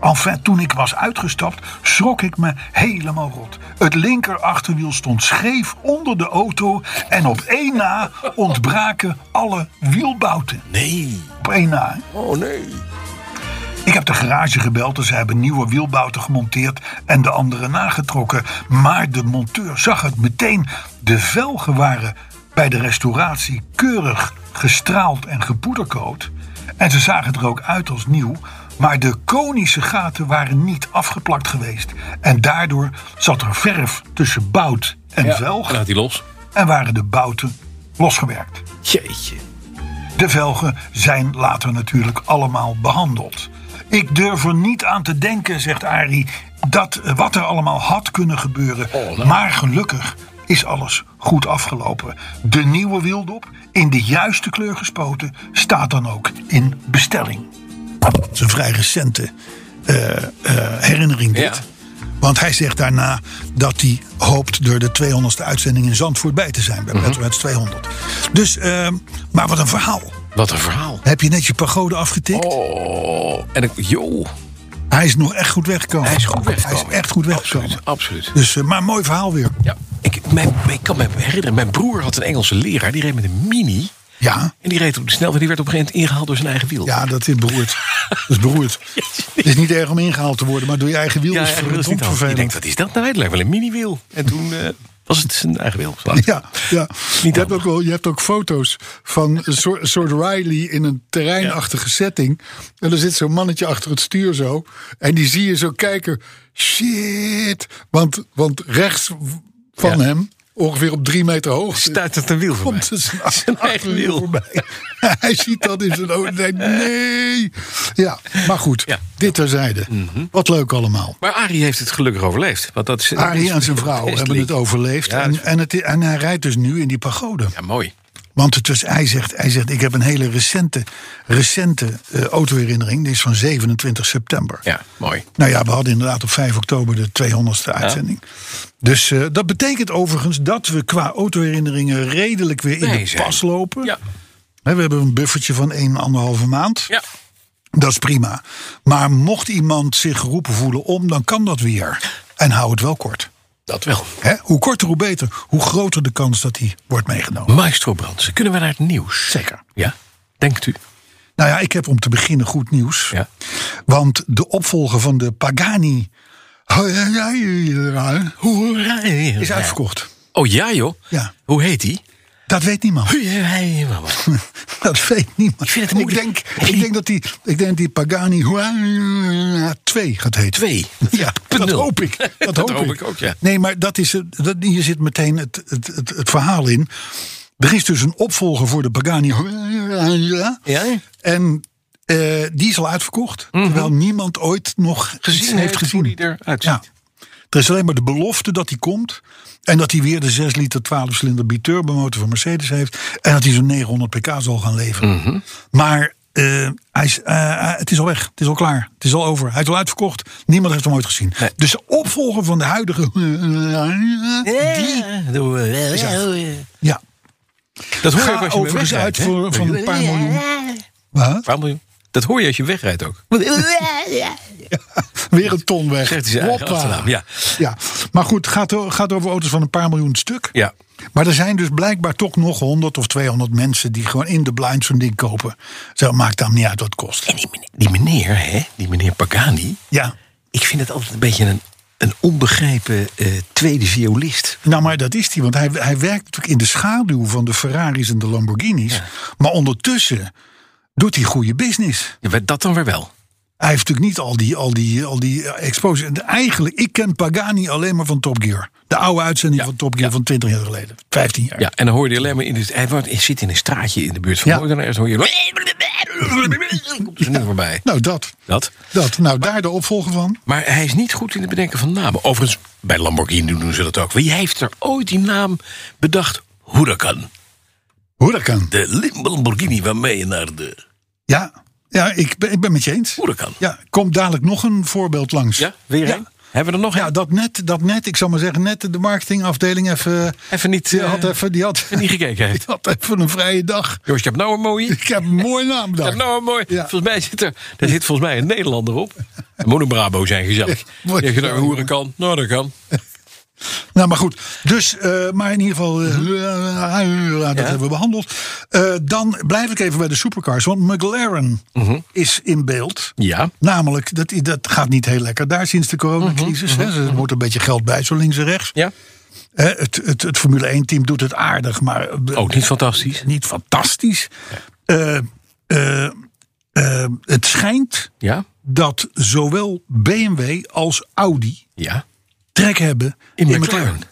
S3: Enfin, toen ik was uitgestapt, schrok ik me helemaal rot. Het linker achterwiel stond scheef onder de auto en op één na ontbraken alle wielbouten.
S2: Nee.
S3: Op één na, hè?
S2: Oh, nee.
S3: Ik heb de garage gebeld en ze hebben nieuwe wielbouten gemonteerd en de andere nagetrokken. Maar de monteur zag het meteen. De velgen waren bij de restauratie keurig gestraald en gepoederkoot. En ze zagen er ook uit als nieuw. Maar de konische gaten waren niet afgeplakt geweest. En daardoor zat er verf tussen bout en velg.
S2: Laat die los.
S3: En waren de bouten losgewerkt.
S2: Jeetje.
S3: De velgen zijn later natuurlijk allemaal behandeld. Ik durf er niet aan te denken, zegt Arie, dat eh, wat er allemaal had kunnen gebeuren. Maar gelukkig is alles goed afgelopen. De nieuwe wieldop, in de juiste kleur gespoten, staat dan ook in bestelling. Dat is een vrij recente eh, eh, herinnering dit. Want hij zegt daarna dat hij hoopt door de 200ste uitzending in Zandvoort bij te zijn. Bij Petroheads 200. Dus, ehm, maar wat een verhaal.
S2: Wat een verhaal.
S6: Heb je net je pagode afgetikt?
S2: Oh, en ik, joh,
S6: Hij is nog echt goed weggekomen.
S2: hij is goed
S6: Hij
S2: weggekomen.
S6: is echt goed weggekomen.
S2: Absoluut, absoluut.
S6: Dus, eh, maar mooi verhaal weer.
S2: Ja, ik, mijn, ik kan me herinneren, mijn broer had een Engelse leraar. Die reed met een mini.
S6: Ja,
S2: En die reed op de snelweg. Die werd op een gegeven moment ingehaald door zijn eigen wiel.
S6: ja dat is beroerd. dat is beroerd. Het is niet erg om ingehaald te worden, maar door je eigen wiel
S2: ja
S6: is
S2: hij wilde het
S6: verdomd
S2: niet aan. Ik
S6: vervelend.
S2: denk, wat is dat nou? Het lijkt wel een mini-wiel. En toen eh, was het zijn eigen wiel.
S6: Ja, ja.
S2: Niet
S6: je, hebt
S2: handig.
S6: ook wel, je hebt ook foto's van een soort, een soort Riley in een terreinachtige setting. En er zit zo'n mannetje achter het stuur zo. En die zie je zo kijken. Shit. Want, want rechts van
S2: Ja.
S6: hem, ongeveer op drie meter hoog,
S2: Stuit het een wiel voorbij.
S6: komt zijn,
S2: Zijn eigen
S6: achterwiel
S2: wiel.
S6: voorbij. Hij ziet dat in zijn ogen. en denkt, Nee. Ja, maar goed.
S2: Ja. Mhm.
S6: Dit terzijde. Wat leuk allemaal.
S2: Maar Arie heeft het gelukkig overleefd. Want dat is,
S6: Arie en zijn vrouw
S2: Best
S6: hebben
S2: leuk.
S6: het overleefd.
S2: Ja, dat
S6: en, en, het, en hij rijdt dus nu in die pagode.
S2: Ja, mooi.
S6: Want het was, hij, zegt, hij zegt, ik heb een hele recente, recente eh, autoherinnering. Die is van 27 september.
S2: Ja, mooi.
S6: Nou ja, we hadden inderdaad op 5 oktober de 200ste uitzending. Dus eh, dat betekent overigens dat we qua autoherinneringen redelijk weer in
S2: Nee,
S6: de
S2: zijn.
S6: pas lopen.
S2: Ja,
S6: Hè, We hebben een buffertje van 1,5 maand.
S2: ja.
S6: Dat is prima. Maar mocht iemand zich geroepen voelen om, dan kan dat weer. En hou het wel kort.
S2: dat wel.
S6: Hè? Hoe korter, hoe beter. Hoe groter de kans dat die wordt meegenomen.
S2: Maestro Brandsen, kunnen we naar het nieuws?
S6: Zeker.
S2: Ja, denkt u?
S6: Nou ja, ik heb om te beginnen goed nieuws.
S2: Ja.
S6: Want de opvolger van de Pagani is uitverkocht.
S2: Oh ja, joh.
S6: Ja.
S2: Hoe heet die?
S6: Dat weet niemand. eh, Dat weet niemand. Ik,
S2: vind het moeilijk.
S6: denk, ik, denk, dat die, ik denk dat die Pagani 2 gaat heten.
S2: Twee.
S6: Ja, dat
S2: nul.
S6: hoop ik. Dat, hoop, ik.
S2: ook, ja.
S6: Nee, maar dat is, het- dat, hier zit meteen het, het, het, het verhaal in. Er is dus een opvolger voor de Pagani.
S2: Ja? Mhm.
S6: En eh, die is al uitverkocht. Terwijl niemand ooit nog gezien heeft,
S2: heeft
S6: gezien.
S2: hoe die eruit ziet.
S6: Ja. Er is alleen maar de belofte dat hij komt. En dat hij weer de 6 liter 12 cilinder biturbo motor van Mercedes heeft. En dat hij zo'n 900 pk zal gaan leveren.
S2: Mhm.
S6: Maar eh, hij is, eh, eh, het is al weg. Het is al klaar. Het is al over. Hij is al uitverkocht. Niemand heeft hem ooit gezien.
S2: Nee.
S6: Dus de opvolger van de huidige... Die, eh, ja,
S2: Dat hoor je ook
S6: ga
S2: als je mee
S6: overigens
S2: wegrijdt.
S6: uit
S2: hè?
S6: voor, van een paar miljoen. Wat?
S2: Paar miljoen. Dat hoor je als je wegrijdt ook.
S6: Weer een ton weg.
S2: Zegt hij zijn eigen
S6: Hoppa.
S2: achternaam, ja.
S6: ja. Maar goed, het gaat, o- gaat over auto's van een paar miljoen stuk.
S2: Ja.
S6: Maar er zijn dus blijkbaar toch nog 100 of 200 mensen die gewoon in de blind zo'n ding kopen. Zo maakt dan niet uit wat het kost.
S2: En die meneer, die meneer, hè, die meneer Pagani,
S6: Ja,
S2: ik vind het altijd een beetje een, een onbegrepen eh, tweede violist.
S6: nou maar dat is die, want hij, hij werkt natuurlijk in de schaduw van de Ferraris en de Lamborghinis. Maar ondertussen doet hij goede business.
S2: Ja, Dat dan weer wel.
S6: Hij heeft natuurlijk niet al die, al die, al die eh, exposure. En Eigenlijk, ik ken Pagani alleen maar van Top Gear. De oude uitzending
S2: Ja,
S6: van Top Gear
S2: ja.
S6: van 20 jaar geleden. 15 jaar.
S2: Ja, en dan hoor je alleen maar in het. Hij wordt- hij zit in een straatje in de buurt van
S6: Ja.
S2: ja. en dan hoor je. Komt er nu voorbij.
S6: Nou, dat.
S2: Dat.
S6: Dat, nou daar de opvolger van.
S2: Maar hij is niet goed in het bedenken van namen. Overigens, bij Lamborghini doen ze dat ook. Wie heeft er ooit die naam bedacht? Huracan.
S6: Huracan.
S2: De Lim- Lamborghini waarmee je naar de
S6: Ja, ja ik, ben, ik ben met je eens.
S2: Huracan.
S6: Ja, komt dadelijk nog een voorbeeld langs.
S2: Ja, weer
S6: ja.
S2: één? Hebben we er nog
S6: Ja,
S2: één?
S6: dat net, dat net, ik zou maar zeggen, net de marketingafdeling even.
S2: Even niet,
S6: Die
S2: eh,
S6: had even, die had,
S2: niet gekeken
S6: die
S2: heeft.
S6: had even een vrije dag.
S2: Joost, je hebt nou een mooie.
S6: Ik heb een mooie naam
S2: Je
S6: bedacht.
S2: hebt nou een mooi.
S6: Ja.
S2: Volgens mij zit er, daar zit volgens mij een Nederlander op. Het Moet een Brabo zijn, gezellig.
S6: Ja, mooi.
S2: Zeg je nou hoeren kan? Nou, dat kan.
S6: Nou, maar goed. Dus, eh, maar in ieder geval, eh, dat hebben we behandeld. Eh, dan blijf ik even bij de supercars, want McLaren is in beeld.
S2: Ja.
S6: Namelijk, dat, dat gaat niet heel lekker daar sinds de coronacrisis. hè. Ze moet een beetje geld bij, zo links en rechts.
S2: Ja.
S6: Hè, het, het, het Formule 1-team doet het aardig, maar eh,
S2: Ook niet fantastisch.
S6: niet fantastisch. Eh, eh, eh, het schijnt
S2: Ja.
S6: dat zowel BMW als Audi
S2: Ja.
S6: trek hebben
S2: In
S6: in,
S2: McLaren.
S6: McLaren.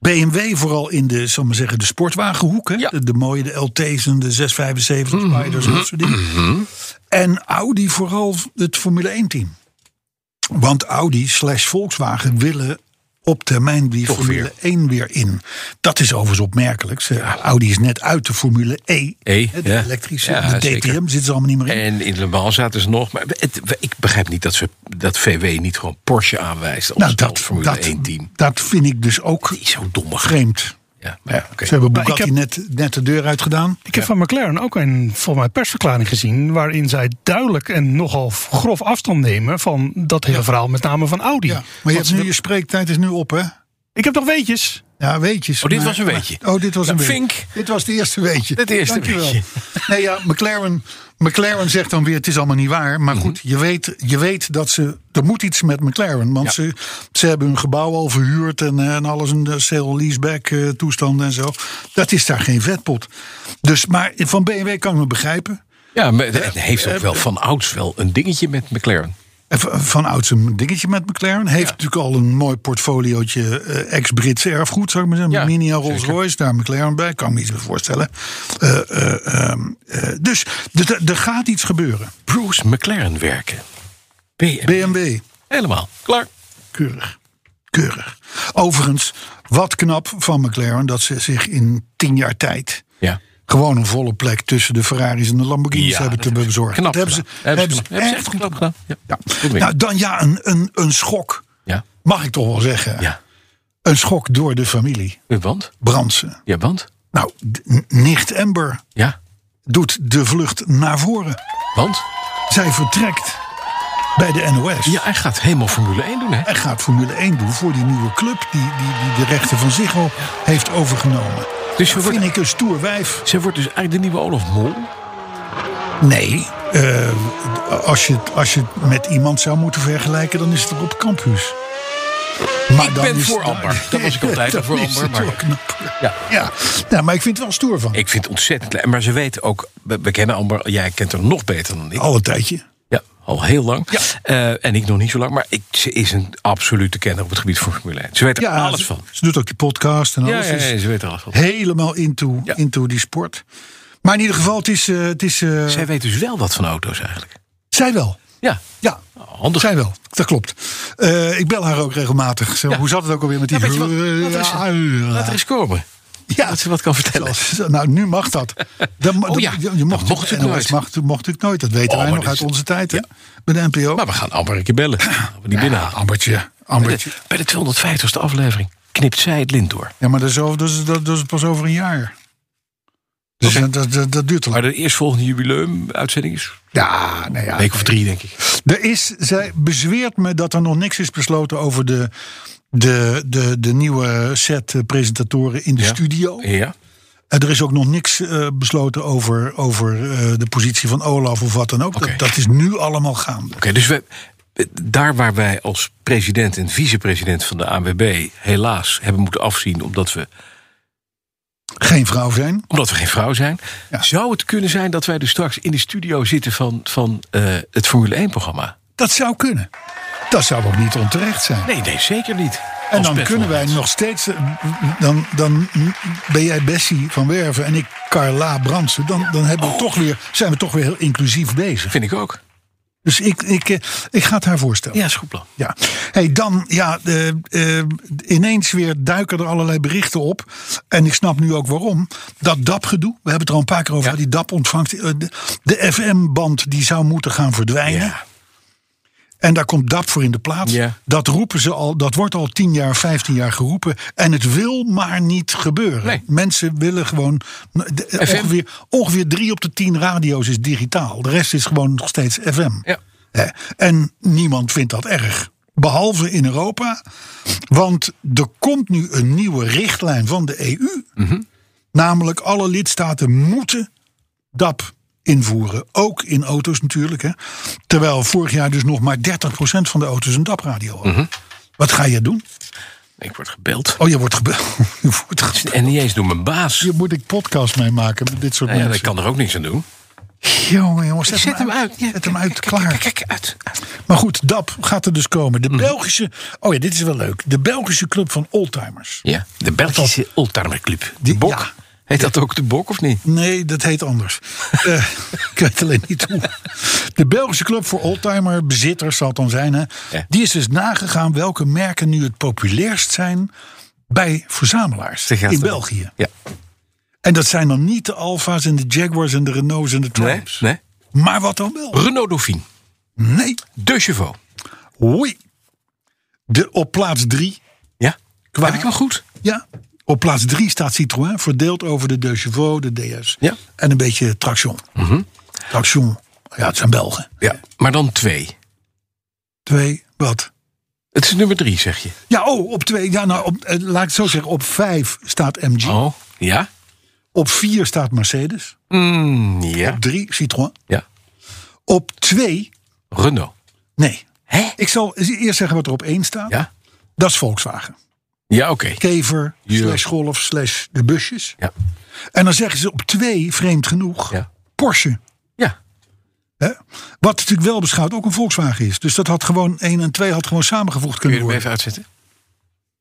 S6: BMW vooral in de, zal ik maar zeggen, de sportwagenhoek. Hè?
S2: Ja. Mhm.
S6: De, de mooie, de LT's en de 675 Spiders en dat soort dingen. En Audi vooral het Formule 1 team. Want Audi slash Volkswagen willen op termijn die
S2: Toch
S6: Formule
S2: weer.
S6: 1 weer in. Dat is overigens opmerkelijk. Ze- Audi is net uit de Formule E.
S2: E,
S6: hè, de
S2: ja.
S6: elektrische,
S2: Ja,
S6: de DTM
S2: zeker.
S6: zitten ze allemaal niet meer in.
S2: En in Le Mans zaten ze nog. Maar het- ik begrijp niet dat, ze, dat VW niet gewoon Porsche aanwijst. Als,
S6: nou,
S2: als
S6: dat,
S2: Formule
S6: dat,
S2: 1 team.
S6: dat vind ik dus ook
S2: Die is zo domme.
S6: vreemd.
S2: Ja, maar ja, oké.
S3: Ze hebben
S7: Maar ik
S3: Bugatti net, net de deur uitgedaan.
S7: Ik heb van McLaren ook een voor mij persverklaring gezien. waarin zij duidelijk en nogal grof afstand nemen. van dat hele verhaal, met name van Audi.
S3: Ja, maar
S7: Want
S3: je, hebt
S7: ze-
S3: nu, je spreektijd is nu op, hè?
S7: Ik heb nog weetjes.
S3: Ja, weetjes.
S2: Oh, dit
S3: maar-
S2: was een weetje.
S3: maar- oh, dit was
S2: Nou,
S3: een weetje.
S2: Vink.
S3: Dit was het eerste weetje.
S2: Het eerste weetje.
S3: Nee, ja, McLaren, McLaren zegt dan weer, het is allemaal niet waar. Maar
S2: Mhm.
S3: goed, je weet, je weet dat ze... Er moet iets met McLaren. Want
S2: Ja.
S3: ze, ze hebben hun gebouw al verhuurd en, eh, en alles. Een eh, sale leaseback eh, toestand en zo. Dat is daar geen vetpot. Dus, maar van BMW kan ik me begrijpen.
S2: ja, maar het heeft ook wel van ouds wel een dingetje met McLaren.
S3: En Eh, v- Van ouds een dingetje met McLaren. Heeft natuurlijk al een mooi portfoliootje eh, ex-Brits erfgoed, zou ik maar zeggen.
S2: Ja,
S3: Mini en Rolls Royce, daar McLaren bij. Kan ik me iets bij voorstellen. Eh, eh, ehm, eh, dus d- d- er gaat iets gebeuren.
S2: Bruce McLaren werken. BM.
S3: BMW,
S2: Helemaal. Klaar.
S3: keurig. Keurig. Overigens, wat knap van McLaren dat ze zich in tien jaar tijd...
S2: Ja.
S3: gewoon een volle plek tussen de Ferraris en de Lamborghinis
S2: Ja,
S3: hebben
S2: dat
S3: te bezorgen.
S2: Knap
S3: dat hebben ze,
S2: gedaan. Hebben ze, knap- hebben ze
S3: echt goed
S2: knap gedaan. Ja. Goed werk.
S3: Nou, dan ja, een, een, een schok.
S2: ja.
S3: Mag ik toch wel zeggen.
S2: Ja.
S3: Een schok door de familie
S2: Want?
S3: Bransen.
S2: Ja, want?
S3: Nou, d- n- nicht Amber
S2: Ja.
S3: doet de vlucht naar voren.
S2: Want?
S3: Zij vertrekt bij de NOS.
S2: Ja, hij gaat helemaal Formule 1 doen, hè?
S3: En gaat Formule 1 doen voor die nieuwe club die, die, die de rechten van Ziggo heeft overgenomen.
S2: Dus ze
S3: Dat
S2: wordt,
S3: vind ik een stoer wijf.
S2: ze wordt dus eigenlijk de nieuwe Olaf Mol.
S3: Nee, eh, als, je, het- als je het met iemand zou moeten vergelijken, dan is het Rob Campus. Maar
S2: Ik
S3: dan
S2: ben
S3: is
S2: voor
S3: het-
S2: Amber. Dat was ik altijd
S3: Dan
S2: voor
S3: is
S2: Amber,
S3: het
S2: maar-
S3: wel knapper.
S2: Ja.
S3: Ja. Nou, maar ik vind het wel stoer van.
S2: Ik vind het ontzettend leuk. Maar ze weet ook, we, we kennen Amber, jij kent haar nog beter dan ik.
S3: Al een tijdje.
S2: Ja, al heel lang. Eh, en ik nog niet zo lang. Maar ik, ze is een absolute kenner op het gebied van Formule 1. Ze weet er alles
S3: ze,
S2: van.
S3: Ze doet ook die podcast en
S2: Ja,
S3: alles.
S2: ja,
S3: Ze
S2: ja,
S3: is
S2: ze weet er alles van.
S3: helemaal into,
S2: Ja.
S3: into die sport. Maar in ieder geval, het is... eh, het is eh,
S2: Zij weet dus wel wat van auto's eigenlijk.
S3: zij wel.
S2: Ja,
S3: Ja,
S2: handig.
S3: zij wel. Dat klopt. Eh, ik bel haar ook regelmatig. Zo, Hoe zat het ook alweer met die...
S2: Ja, weet je wat? Laat er eens- Laat er eens komen.
S3: Ja.
S2: Dat ze wat kan vertellen.
S3: Zoals- nou, nu mag dat. Dan,
S2: Oh ja,
S3: dan- je,
S2: dat
S3: mocht,
S2: mocht
S3: het
S2: het nooit.
S3: NOS Mag, mocht ik nooit. Dat weten
S2: Oh,
S3: wij
S2: maar
S3: nog
S2: dat
S3: uit
S2: is-
S3: onze tijd. hè,
S2: Ja.
S3: Bij de NPO.
S2: Maar we gaan Amber een keer bellen. Gaan we Die binnenhalen.
S3: Ambertje.
S2: Bij
S3: Ambertje.
S2: de, bij de 250ste aflevering knipt zij het lint door.
S3: Ja, maar dat is, over- dat is, dat, dat is pas over een jaar. Dus dat, dat, dat, dat duurt te
S2: Maar
S3: lang.
S2: de eerstvolgende jubileum-uitzending is
S3: Ja, nou ja.
S2: een week of drie, denk ik.
S3: Er is, zij bezweert me dat er nog niks is besloten over de, de, de, de nieuwe set eh, presentatoren in de
S2: Ja.
S3: studio.
S2: Ja.
S3: En er is ook nog niks eh, besloten over, over eh, de positie van Olaf of wat dan ook.
S2: Oké.
S3: Dat, dat is nu allemaal gaande.
S2: Oké, dus we, daar waar wij als president en vicepresident van de ANWB helaas hebben moeten afzien omdat we,
S3: Geen vrouw zijn.
S2: omdat we geen vrouw zijn,
S3: Ja.
S2: zou het kunnen zijn dat wij dus straks in de studio zitten van, van eh, het Formule 1-programma?
S3: Dat zou kunnen. Dat zou ook niet onterecht zijn.
S2: Nee, nee, zeker niet.
S3: En
S2: Als
S3: dan
S2: Pet
S3: kunnen wij
S2: Lawrence.
S3: nog steeds. eh, Dan, dan ben jij Bessie van Werven en ik Carla Brandsen. Dan, dan hebben we toch weer, zijn we toch weer heel inclusief bezig.
S2: Vind ik ook.
S3: Dus ik, ik, eh, ik ga het haar voorstellen.
S2: Ja, is een goed plan.
S3: Ja. Hey, dan, ja, eh, eh, ineens weer duiken er allerlei berichten op. En ik snap nu ook waarom. Dat DAP-gedoe, we hebben het er al een paar keer over.
S2: Ja.
S3: Die DAP ontvangt eh, de, de FM-band die zou moeten gaan verdwijnen.
S2: Ja.
S3: En daar komt DAP voor in de plaats.
S2: Ja.
S3: Dat roepen ze al, dat wordt al 10 jaar, 15 jaar geroepen. En het wil maar niet gebeuren.
S2: Nee.
S3: Mensen willen gewoon. de-
S2: FM.
S3: ongeveer, ongeveer 3 op de 10 radio's is digitaal. De rest is gewoon nog steeds FM.
S2: Ja.
S3: Hè? En niemand vindt dat erg. Behalve in Europa. Want er komt nu een nieuwe richtlijn van de EU.
S2: Mhm.
S3: Namelijk alle lidstaten moeten DAP invoeren. Ook in auto's natuurlijk. Hè? Terwijl vorig jaar dus nog maar 30% van de auto's een DAP-radio hadden.
S2: Mhm.
S3: Wat ga je doen?
S2: Ik word gebeld.
S3: Oh, je wordt gebeld. Je wordt gebeld.
S2: En niet eens door mijn baas.
S3: Hier moet ik podcast mee maken met dit soort
S2: Nou ja, ik
S3: mensen.
S2: kan er ook niks aan doen.
S3: Jongen, jongen, zet, hem uit. Zet hem uit, klaar.
S2: Kijk, uit.
S3: Maar goed, DAP gaat er dus komen. De
S2: Mhm.
S3: Belgische. Oh ja, dit is wel leuk. De Belgische Club van Oldtimers.
S2: Ja, de Belgische Oldtimerclub. De
S3: Die-
S2: Bok.
S3: ja.
S2: Heet dat ook de Bok of niet?
S3: Nee, dat heet anders. Eh, ik weet alleen niet hoe. De Belgische Club voor Oldtimer, bezitters zal het dan zijn. Hè,
S2: Ja.
S3: Die is dus nagegaan welke merken nu het populairst zijn bij verzamelaars
S2: Zeg, ja,
S3: in
S2: dat-
S3: België.
S2: Ja.
S3: En dat zijn dan niet de Alfa's en de Jaguars en de Renaults en de
S2: Nee,
S3: Triumphs.
S2: nee.
S3: Maar wat dan wel?
S2: Renault Dauphine.
S3: Nee.
S2: De Chevaux.
S3: Hoi. De, op plaats drie.
S2: Ja?
S3: Qua-
S2: Heb ik hem goed?
S3: Ja. Op Op plaats 3 staat Citroën, verdeeld over de De Chevaux, de DS
S2: Ja. Mhm.
S3: en een beetje Traction. Traction, ja, het zijn Belgen.
S2: Ja. Maar dan twee.
S3: Twee, wat?
S2: Het is nummer drie, zeg je.
S3: Ja, oh, op twee. Ja, nou, op, eh, laat ik het zo zeggen. Op vijf staat MG.
S2: Oh, ja?
S3: Op vier staat Mercedes.
S2: Mm, ja.
S3: Op drie Citroën.
S2: ja.
S3: Op twee,
S2: Renault.
S3: nee.
S2: Hè?
S3: Ik zal eerst zeggen wat er op één staat.
S2: Ja?
S3: Dat is Volkswagen.
S2: Ja, oké.
S3: Kever,
S2: Ja.
S3: slash Golf, slash de busjes.
S2: Ja.
S3: En dan zeggen ze op twee, vreemd genoeg,
S2: Ja.
S3: Porsche.
S2: Ja.
S3: Hè? Wat natuurlijk wel beschouwd ook een Volkswagen is. Dus dat had gewoon één en twee had gewoon samengevoegd
S2: Kun je
S3: kunnen
S2: hem
S3: worden.
S2: even uitzetten?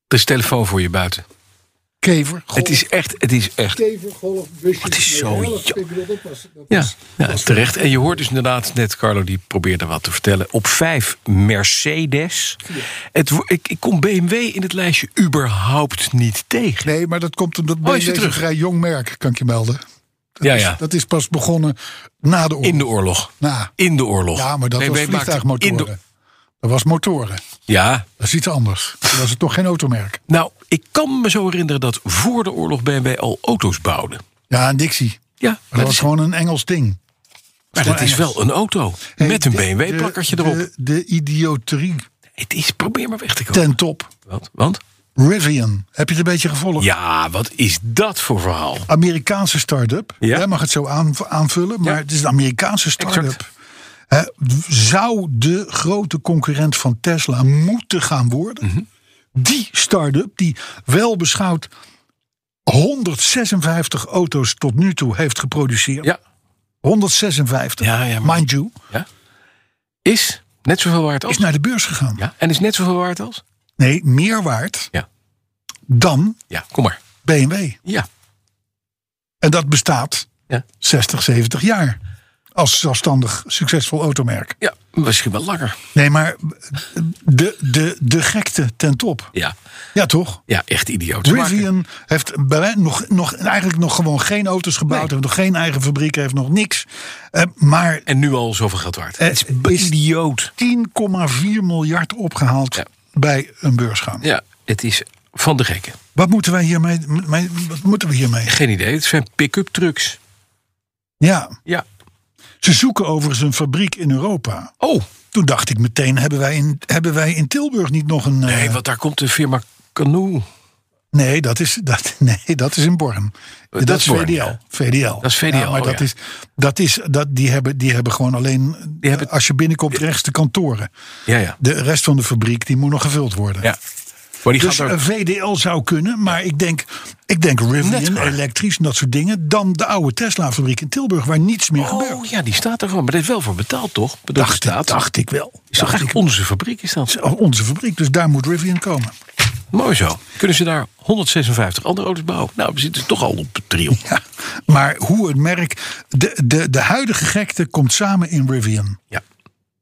S2: Er is telefoon voor je buiten.
S3: Kever, Golf,
S2: Het is echt, het is echt.
S3: Kever, Golf, busjes.
S2: Wat is
S3: nee,
S2: zo
S3: elf.
S2: jo-
S3: Ik bedoel, dat was- dat
S2: Ja,
S3: was-
S2: ja, terecht. En je hoort dus inderdaad net, Carlo die probeerde wat te vertellen. Op vijf Mercedes. Het, wo- ik, ik kom BMW in het lijstje überhaupt niet tegen.
S3: Nee, maar dat komt omdat
S2: Oh, is
S3: BMW
S2: je
S3: is een
S2: terug?
S3: vrij jong merk, kan ik je melden. Dat
S2: Ja,
S3: is,
S2: ja.
S3: Dat is pas begonnen na de oorlog.
S2: In de oorlog.
S3: Na.
S2: In de oorlog.
S3: Ja, maar dat
S2: BMW
S3: was
S2: maakte in de-
S3: vliegtuigmotoren. Dat was motoren.
S2: ja,
S3: Dat is iets anders. Toen was het toch geen automerk.
S2: nou, ik kan me zo herinneren dat voor de oorlog BMW al auto's bouwde.
S3: Ja, een Dixie.
S2: Ja,
S3: Maar dat was gewoon een Engels ding.
S2: Maar dat is wel een auto.
S3: Hey,
S2: met een
S3: de-
S2: BMW-plakkertje
S3: de-
S2: erop.
S3: De, de idioterie
S2: het is, probeer maar weg te komen.
S3: ten top.
S2: Wat? Want?
S3: Rivian. Heb je het een beetje gevolgd?
S2: Ja, wat is dat voor verhaal?
S3: Amerikaanse start-up.
S2: Ja.
S3: Jij mag het zo aan, aanvullen, maar
S2: Ja.
S3: het is een Amerikaanse start-up.
S2: Exact.
S3: Hè, zou de grote concurrent van Tesla moeten gaan worden?
S2: Mhm.
S3: Die start-up, die wel beschouwd 156 auto's tot nu toe heeft geproduceerd.
S2: Ja,
S3: 156,
S2: Ja, ja, maar-
S3: mind you,
S2: is net zoveel waard als.
S3: is nou- naar de beurs gegaan.
S2: Ja, en is net zoveel waard als?
S3: Nee, meer waard
S2: Ja.
S3: dan
S2: Ja, kom maar.
S3: BMW.
S2: Ja.
S3: En dat bestaat
S2: Ja.
S3: 60, 70 jaar. Als zelfstandig succesvol automerk.
S2: ja, misschien wel langer.
S3: Nee, maar de, de, de gekte ten top.
S2: Ja,
S3: Ja, toch?
S2: ja echt idioot. Ze maken-
S3: Rivian heeft bij wij- nog, nog, eigenlijk nog gewoon geen auto's gebouwd.
S2: Nee.
S3: Heeft nog geen eigen fabriek, heeft nog niks. Eh, maar
S2: En nu al zoveel geld waard.
S3: Eh,
S2: het is
S3: is-
S2: idioot.
S3: 10,4 miljard opgehaald
S2: Ja.
S3: bij een beursgang.
S2: Ja, het is van de gekken.
S3: Wat moeten wij hiermee? m- mee- Wat moeten we hiermee?
S2: Geen idee. Het zijn pick-up trucks.
S3: Ja,
S2: Ja.
S3: ze zoeken overigens een fabriek in Europa.
S2: Oh,
S3: Toen dacht ik meteen, hebben wij in, hebben wij in Tilburg niet nog een... eh,
S2: nee, want daar komt de firma Canoe.
S3: Nee, dat is, dat, nee, dat is in Born. Dat,
S2: dat
S3: is
S2: is Born,
S3: VDL.
S2: ja.
S3: VDL.
S2: Dat is VDL,
S3: Ja, maar
S2: oh
S3: dat
S2: ja.
S3: is, dat is, dat, die, hebben, die hebben gewoon alleen,
S2: Die hebben-
S3: als je binnenkomt, rechts de kantoren.
S2: Ja, ja.
S3: De rest van de fabriek, die moet nog gevuld worden.
S2: ja. Maar die
S3: Dus
S2: gaat
S3: een
S2: ook.
S3: VDL zou kunnen, maar ik denk, ik denk Rivian,
S2: maar.
S3: elektrisch en dat soort dingen. Dan de oude Tesla-fabriek in Tilburg, waar niets meer
S2: Oh
S3: gebeurt.
S2: ja, die staat er gewoon. Maar dat is wel voor betaald, toch? Bedoeld
S3: Dacht, ik-
S2: staat.
S3: dacht ik wel.
S2: Is toch
S3: Dacht
S2: eigenlijk onze fabriek is dat?
S3: ik- Onze fabriek, dus daar moet Rivian komen.
S2: Mooi zo. Kunnen ze daar 156 andere auto's bouwen? Nou, we zitten toch al op de trio.
S3: Ja, maar hoe het merk. De, de, de huidige gekte komt samen in Rivian.
S2: Ja.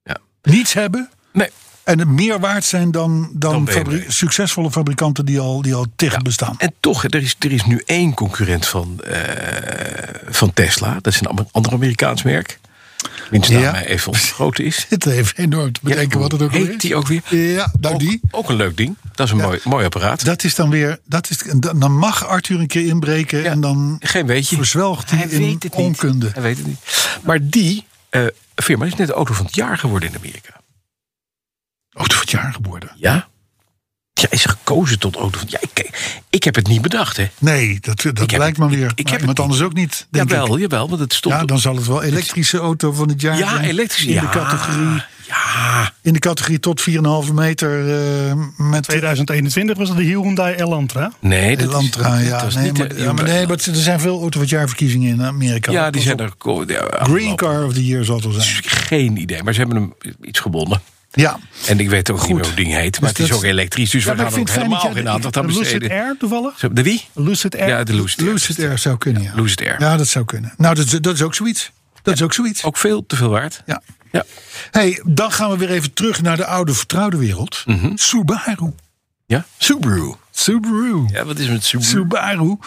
S2: ja.
S3: Niets hebben
S2: Nee,
S3: en het meer waard zijn dan, dan,
S2: Dan BMW.
S3: fabri- succesvolle fabrikanten die al, die al tegen bestaan.
S2: en toch, er is, er is nu één concurrent van, eh, van Tesla. Dat is een am- ander Amerikaans merk. Wiens naam
S3: Ja.
S2: mij even ontgroten is.
S3: Dit even enorm te bedenken
S2: Ja,
S3: wat het ook
S2: heet
S3: weer is.
S2: die ook weer?
S3: Ja, nou
S2: Ook,
S3: die.
S2: ook een leuk ding. Dat is een mooi, mooi apparaat.
S3: Dat is dan weer. Dat is, dan dan mag Arthur een keer inbreken
S2: Ja,
S3: en dan
S2: Geen weetje.
S3: verzwelgt hij, in onkunde.
S2: Niet. Hij weet het niet. Maar die eh, firma is net de auto van het jaar geworden in Amerika.
S3: Auto van het jaar geworden.
S2: Ja? Ja, is gekozen tot auto van het jaar. Ik, kijk, ik heb het niet bedacht, hè?
S3: Nee, dat, dat
S2: heb
S3: blijkt
S2: het-
S3: maar
S2: ik-
S3: weer.
S2: ik heb
S3: maar
S2: het
S3: iemand
S2: niet.
S3: anders ook niet. Denk ik.
S2: Jawel, jawel, want het stond...
S3: Ja, dan zal het wel elektrische auto van het jaar
S2: Ja,
S3: zijn.
S2: elektrisch.
S3: In
S2: ja,
S3: de categorie
S2: Ja,
S3: In de categorie tot 4,5 meter eh, met
S7: 2021 was dat de Hyundai Elantra.
S2: nee,
S3: de
S2: dat
S3: Elantra.
S2: is,
S3: Ah, Ja,
S2: dat is
S3: nee,
S2: niet
S3: maar,
S2: de-
S3: ja, maar nee, maar er zijn veel auto van het jaar verkiezingen in Amerika.
S2: ja, die
S3: Pas
S2: zijn
S3: op.
S2: er... ko- ja,
S3: Green
S2: afgelopen.
S3: Car of the Year zal het wel zijn.
S2: Geen idee, maar ze hebben hem iets gewonnen.
S3: Ja.
S2: En ik weet ook niet meer hoe het ding heet, maar
S3: Dus
S2: het is
S3: dat-
S2: ook elektrisch. Dus
S3: Ja,
S2: we
S3: maar
S2: gaan
S3: ik
S2: er ook
S3: vind het
S2: helemaal
S3: fijn dat jij
S2: geen
S3: de-
S2: aandacht aan
S7: Lucid
S2: besteden.
S7: Air toevallig?
S2: Zo, De wie?
S7: Lucid Air.
S2: Ja, de Lucid Air.
S3: Lucid Air zou kunnen, ja.
S2: Lucid Air.
S3: Ja, dat zou kunnen. Nou, dat, is- dat is ook zoiets. Dat is ook zoiets.
S2: Ook veel te veel waard.
S3: Ja.
S2: Ja.
S3: Hey, dan gaan we weer even terug naar de oude vertrouwde wereld. Subaru.
S2: Mhm. Ja?
S3: Subaru. Subaru.
S2: Ja, wat is het? Subaru?
S3: Subaru.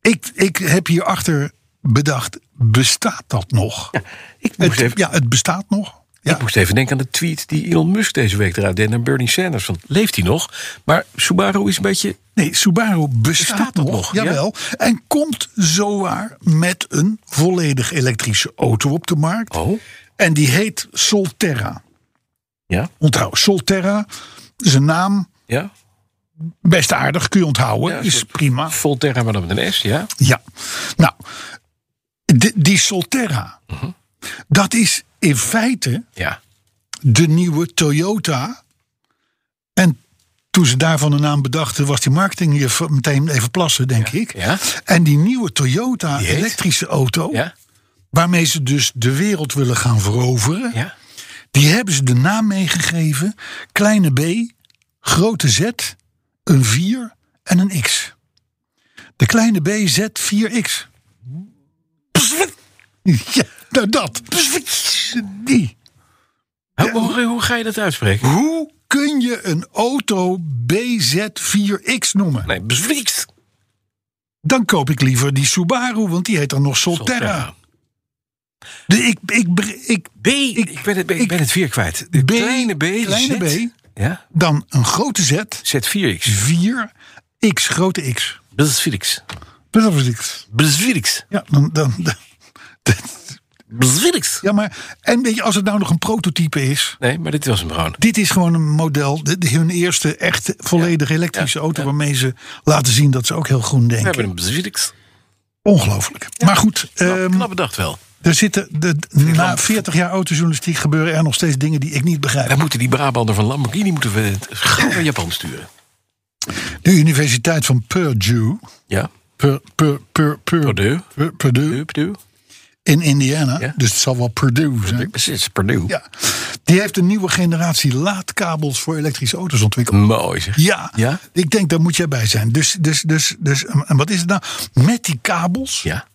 S3: Ik, ik heb hierachter bedacht, bestaat dat nog?
S2: Ik
S3: Het,
S2: moest even...
S3: Ja, het bestaat nog. Ja.
S2: Ik moest even denken aan de tweet die Elon Musk deze week eruit deed... naar Bernie Sanders, van leeft hij nog? Maar Subaru is een beetje...
S3: Nee, Subaru bestaat,
S2: Bestaat dat
S3: nog,
S2: nog, ja?
S3: jawel. En komt zowaar met een volledig elektrische auto op de markt.
S2: Oh,
S3: En die heet Solterra.
S2: ja,
S3: Onthoud, Solterra is een naam,
S2: ja.
S3: best aardig, kun je onthouden.
S2: Ja, een
S3: is
S2: soort
S3: prima.
S2: Volterra, maar dan met een S, ja.
S3: Ja, nou, di- die Solterra,
S2: Mhm.
S3: dat is in feite
S2: Ja,
S3: de nieuwe Toyota. En toen ze daarvan de naam bedachten, was die marketing hier v- meteen even plassen, denk ik.
S2: ja.
S3: En die nieuwe Toyota
S2: heet?
S3: elektrische auto,
S2: ja,
S3: waarmee ze dus de wereld willen gaan veroveren,
S2: ja.
S3: die hebben ze de naam meegegeven: kleine B, grote Z, een 4 en een X. De kleine B, Z, 4X. Ja, nou dat. Die.
S2: Hoe, hoe, hoe ga je dat uitspreken?
S3: Hoe kun je een auto BZ4X noemen?
S2: Nee, bezwiekt.
S3: Dan koop ik liever die Subaru, want die heet dan nog Solterra. De, ik, ik, bre- ik,
S2: B, ik, ben het, ik ben het weer kwijt. De
S3: B,
S2: kleine B,
S3: kleine
S2: Z.
S3: B.
S2: Ja,
S3: dan een grote Z,
S2: Z4X.
S3: 4X, grote X.
S2: Bezwirks.
S3: Dat was ik.
S2: Bezwirks.
S3: Ja, dan, dan, dan-
S2: Bezwirks.
S3: ja, maar en weet je, als het nou nog een prototype is.
S2: Nee, maar dit was hem gewoon.
S3: Dit is gewoon een model, de, de- hun eerste echt volledig elektrische
S2: ja,
S3: auto...
S2: ja.
S3: waarmee ze laten zien dat ze ook heel groen
S2: We
S3: denken.
S2: hebben een bezwirks.
S3: Ongelooflijk. Maar goed,
S2: Knap,
S3: ehm,
S2: knap bedacht wel.
S3: Er zitten de, na 40 jaar autojournalistiek gebeuren er nog steeds dingen die ik niet begrijp.
S2: Dan moeten die Brabander van Lamborghini moeten we het gauw naar Japan sturen.
S3: De Universiteit van Purdue,
S2: Ja.
S3: Pur, Pur, Pur, Pur-
S2: Purdue.
S3: Pur- Purdue
S2: Purdue, Purdue.
S3: in Indiana,
S2: Ja.
S3: dus het zal wel Purdue zijn.
S2: Precies, Purdue.
S3: Ja. Die heeft een nieuwe generatie laadkabels voor elektrische auto's ontwikkeld.
S2: Mooi zeg.
S3: Ja,
S2: Ja?
S3: ik denk daar moet jij bij zijn. Dus, dus, dus, dus, en wat is het nou? Met die kabels
S2: Ja,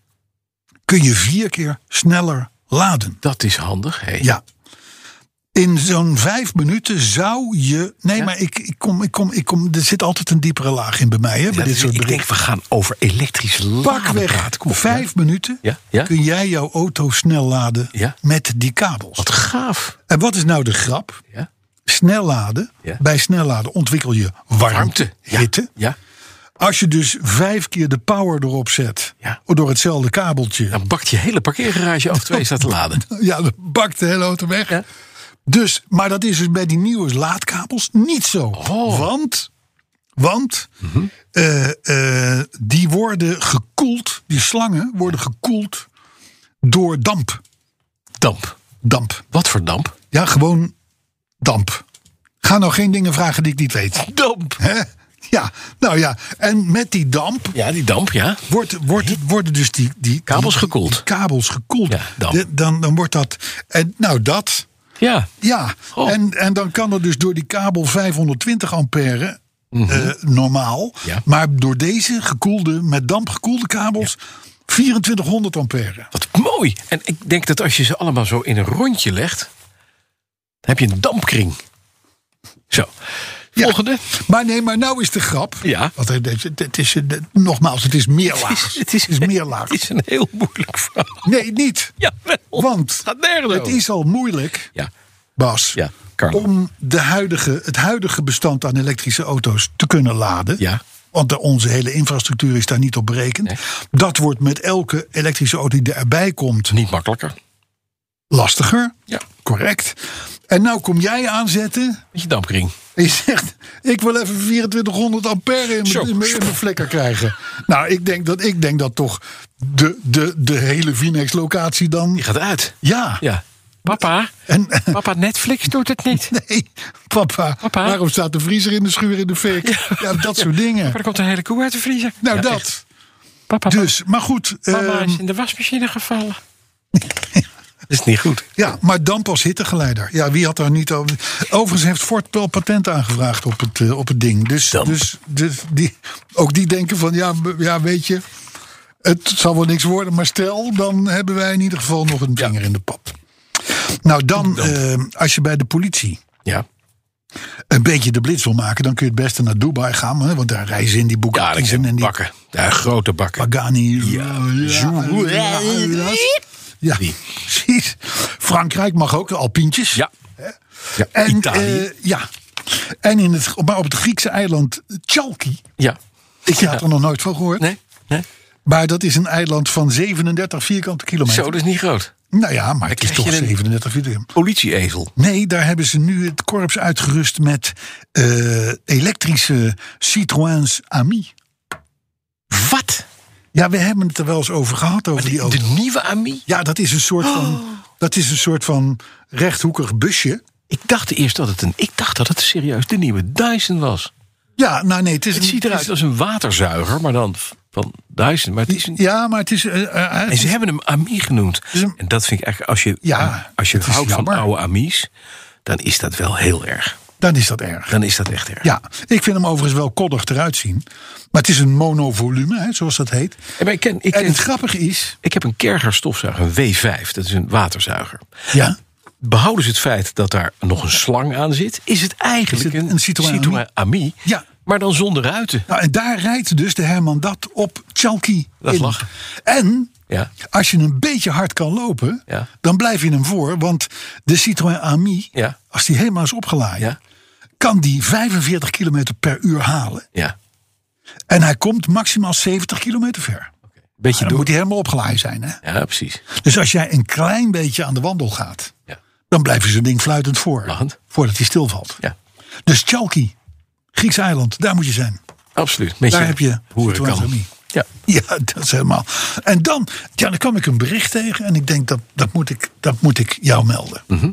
S3: kun je vier keer sneller laden.
S2: dat is handig. Hey.
S3: Ja. In zo'n vijf minuten zou je. Nee, maar ik, ik, kom, ik, kom, ik kom. Er zit altijd een diepere laag in bij mij. Hè, bij
S2: Dat
S3: dit
S2: is-
S3: soort
S2: dus ik denk,
S3: berichten.
S2: we gaan over elektrische
S3: Pak
S2: laden
S3: weg.
S2: praten. Kom op,
S3: vijf minuten.
S2: Ja, ja.
S3: Kun jij jouw auto snel laden
S2: Ja.
S3: met die kabels?
S2: Wat gaaf.
S3: En wat is nou de grap?
S2: Ja.
S3: Snel laden.
S2: Ja.
S3: Bij snel laden ontwikkel je warmte,
S2: Warmte. Ja.
S3: hitte.
S2: Ja.
S3: Als je dus vijf keer de power erop zet.
S2: Ja.
S3: door hetzelfde kabeltje.
S2: Dan bakt je hele parkeergarage af twee staat te laden.
S3: Ja, dat bakt de hele auto weg.
S2: Ja.
S3: Dus, maar dat is dus bij die nieuwe laadkabels niet zo.
S2: Oh.
S3: Want, want
S2: Mhm.
S3: eh, eh, die worden gekoeld, die slangen worden gekoeld door damp.
S2: Damp.
S3: Damp.
S2: Wat voor damp?
S3: Ja, gewoon damp. Ga nou geen dingen vragen die ik niet weet.
S2: Damp.
S3: Hè? Ja, nou ja. En met die damp
S2: Ja, die damp, ja.
S3: wordt, wordt, worden dus die, die
S2: Kabels
S3: die-
S2: gekoeld.
S3: die kabels gekoeld.
S2: Ja, damp.
S3: De- dan, dan wordt dat. En nou, dat.
S2: Ja.
S3: Ja,
S2: Oh.
S3: en, en dan kan er dus door die kabel 520 ampère eh, normaal.
S2: Mhm. Ja.
S3: Maar door deze gekoelde, met damp gekoelde kabels 2400 ampère.
S2: Wat mooi. En ik denk dat als je ze allemaal zo in een rondje legt, dan heb je een dampkring. Zo. Volgende.
S3: Maar nee, maar nou is de grap.
S2: Ja.
S3: Want het, het, het is, het- nogmaals, het is meer laag.
S2: Het is,
S3: meer laag.
S2: Het is een heel moeilijk verhaal.
S3: Nee, niet.
S2: Jawel.
S3: Want
S2: Gaat nergens
S3: het
S2: over.
S3: is al moeilijk,
S2: Ja.
S3: Bas,
S2: Ja, Carlo.
S3: om de huidige, het huidige bestand aan elektrische auto's te kunnen laden.
S2: Ja.
S3: Want de- onze hele infrastructuur is daar niet op berekend.
S2: Nee.
S3: Dat wordt met elke elektrische auto die erbij komt
S2: Niet makkelijker.
S3: lastiger.
S2: Ja.
S3: Correct. En nou kom jij aanzetten
S2: Met je dampkring.
S3: en je zegt... ik wil even 2400 ampère in
S2: Zo.
S3: mijn- in mijn in mijn flikker krijgen. Nou, ik denk dat, ik denk dat toch de, de, de hele Vinex-locatie dan...
S2: Die gaat uit.
S3: Ja.
S2: Ja. Papa.
S3: En,
S2: Papa, Netflix doet het niet.
S3: nee, papa,
S2: Papa?
S3: waarom staat de vriezer in de schuur in de fik? Ja, dat soort dingen.
S2: Maar er komt een hele koe uit de vriezer.
S3: Nou,
S2: Ja,
S3: dat.
S2: echt. Papa,
S3: Dus, maar goed.
S2: Mama
S3: ehm,
S2: is in de wasmachine gevallen. dat is niet goed.
S3: Ja, maar damp als hittegeleider. Ja, wie had daar niet over. Overigens heeft Ford wel patent aangevraagd op het, eh, op het ding. Dus,
S2: Damp.
S3: dus, dus die, ook die denken van, ja, m- ja, weet je, het zal wel niks worden. Maar stel, dan hebben wij in ieder geval nog een vinger in de pap. Nou, dan, eh, als je bij de politie
S2: Ja.
S3: een beetje de blitz wil maken... dan kun je het beste naar Dubai gaan. Hè, want daar reizen in die
S2: Ja, dat
S3: Bugatti's
S2: zijn
S3: en die
S2: bakken. Ja, grote bakken.
S3: Pagani.
S2: Ja.
S3: Ja, ja, ja, ja. Ja, precies. Frankrijk mag ook, de Alpientjes.
S2: Ja.
S3: en,
S2: Italië.
S3: eh, ja. En in het, maar op het Griekse eiland Chalki.
S2: Ja.
S3: Ik had er nog nooit van gehoord.
S2: Nee? nee?
S3: Maar dat is een eiland van 37 vierkante kilometer.
S2: Zo, dat is niet groot.
S3: Nou ja, maar het is
S2: krijg
S3: toch
S2: je een-
S3: 37 vierkante
S2: Politieezel.
S3: Nee, daar hebben ze nu het korps uitgerust met eh, elektrische Citroëns Ami.
S2: Wat?
S3: Ja, we hebben het er wel eens over gehad, over die auto.
S2: De nieuwe Ami?
S3: Ja, dat is een soort van,
S2: Oh.
S3: dat is een soort van rechthoekig busje.
S2: Ik dacht eerst dat het een. Ik dacht dat het serieus de nieuwe Dyson was.
S3: Ja, nou nee, het is
S2: Het
S3: een-
S2: ziet eruit als een waterzuiger, maar dan f- van Dyson. Maar het is een,
S3: Ja, maar het is. eh, eh, eh,
S2: en ze hebben hem Ami genoemd.
S3: is een-
S2: En dat vind ik eigenlijk, als je,
S3: Ja,
S2: als je
S3: het is
S2: houdt van
S3: jammer.
S2: oude Amis, dan is dat wel heel erg.
S3: dan is dat erg.
S2: Dan is dat echt erg.
S3: Ja, ik vind hem overigens wel koddig eruit zien. Maar het is een monovolume, hè, zoals dat heet.
S2: En maar ik, ken, ik,
S3: en
S2: ken,
S3: het grappige is.
S2: ik heb een Kerger stofzuiger, een W5. Dat is een waterzuiger.
S3: Ja,
S2: Behouden ze het feit dat daar nog een slang aan zit, is het eigenlijk
S3: Is het
S2: een,
S3: een Citroën
S2: Citroën, Ami.
S3: Ja.
S2: Maar dan zonder ruiten.
S3: nou, en daar rijdt dus de Herman dat op Chalki.
S2: Dat
S3: in.
S2: lag.
S3: En
S2: Ja.
S3: Als je een beetje hard kan lopen,
S2: Ja.
S3: dan blijf je hem voor. Want de Citroën Ami,
S2: Ja.
S3: als die helemaal is opgeladen,
S2: Ja.
S3: kan die 45 km per uur halen.
S2: Ja.
S3: En hij komt maximaal 70 km ver. Dus
S2: Beetje
S3: Dan
S2: door.
S3: moet hij helemaal opgeladen zijn. Hè?
S2: Ja, precies.
S3: Dus als jij een klein beetje aan de wandel gaat,
S2: Ja.
S3: dan blijf je zo'n ding fluitend voor.
S2: Lachend.
S3: Voordat hij stilvalt.
S2: ja.
S3: Dus Chalki, Grieks eiland, daar moet je zijn.
S2: Absoluut. Met
S3: Daar heb je
S2: hoeren
S3: Citroën
S2: kan.
S3: Ami.
S2: Ja.
S3: Ja, dat is helemaal. En dan, ja, dan kwam ik een bericht tegen en ik denk dat, dat, moet, ik, dat moet ik jou melden.
S2: Mhm.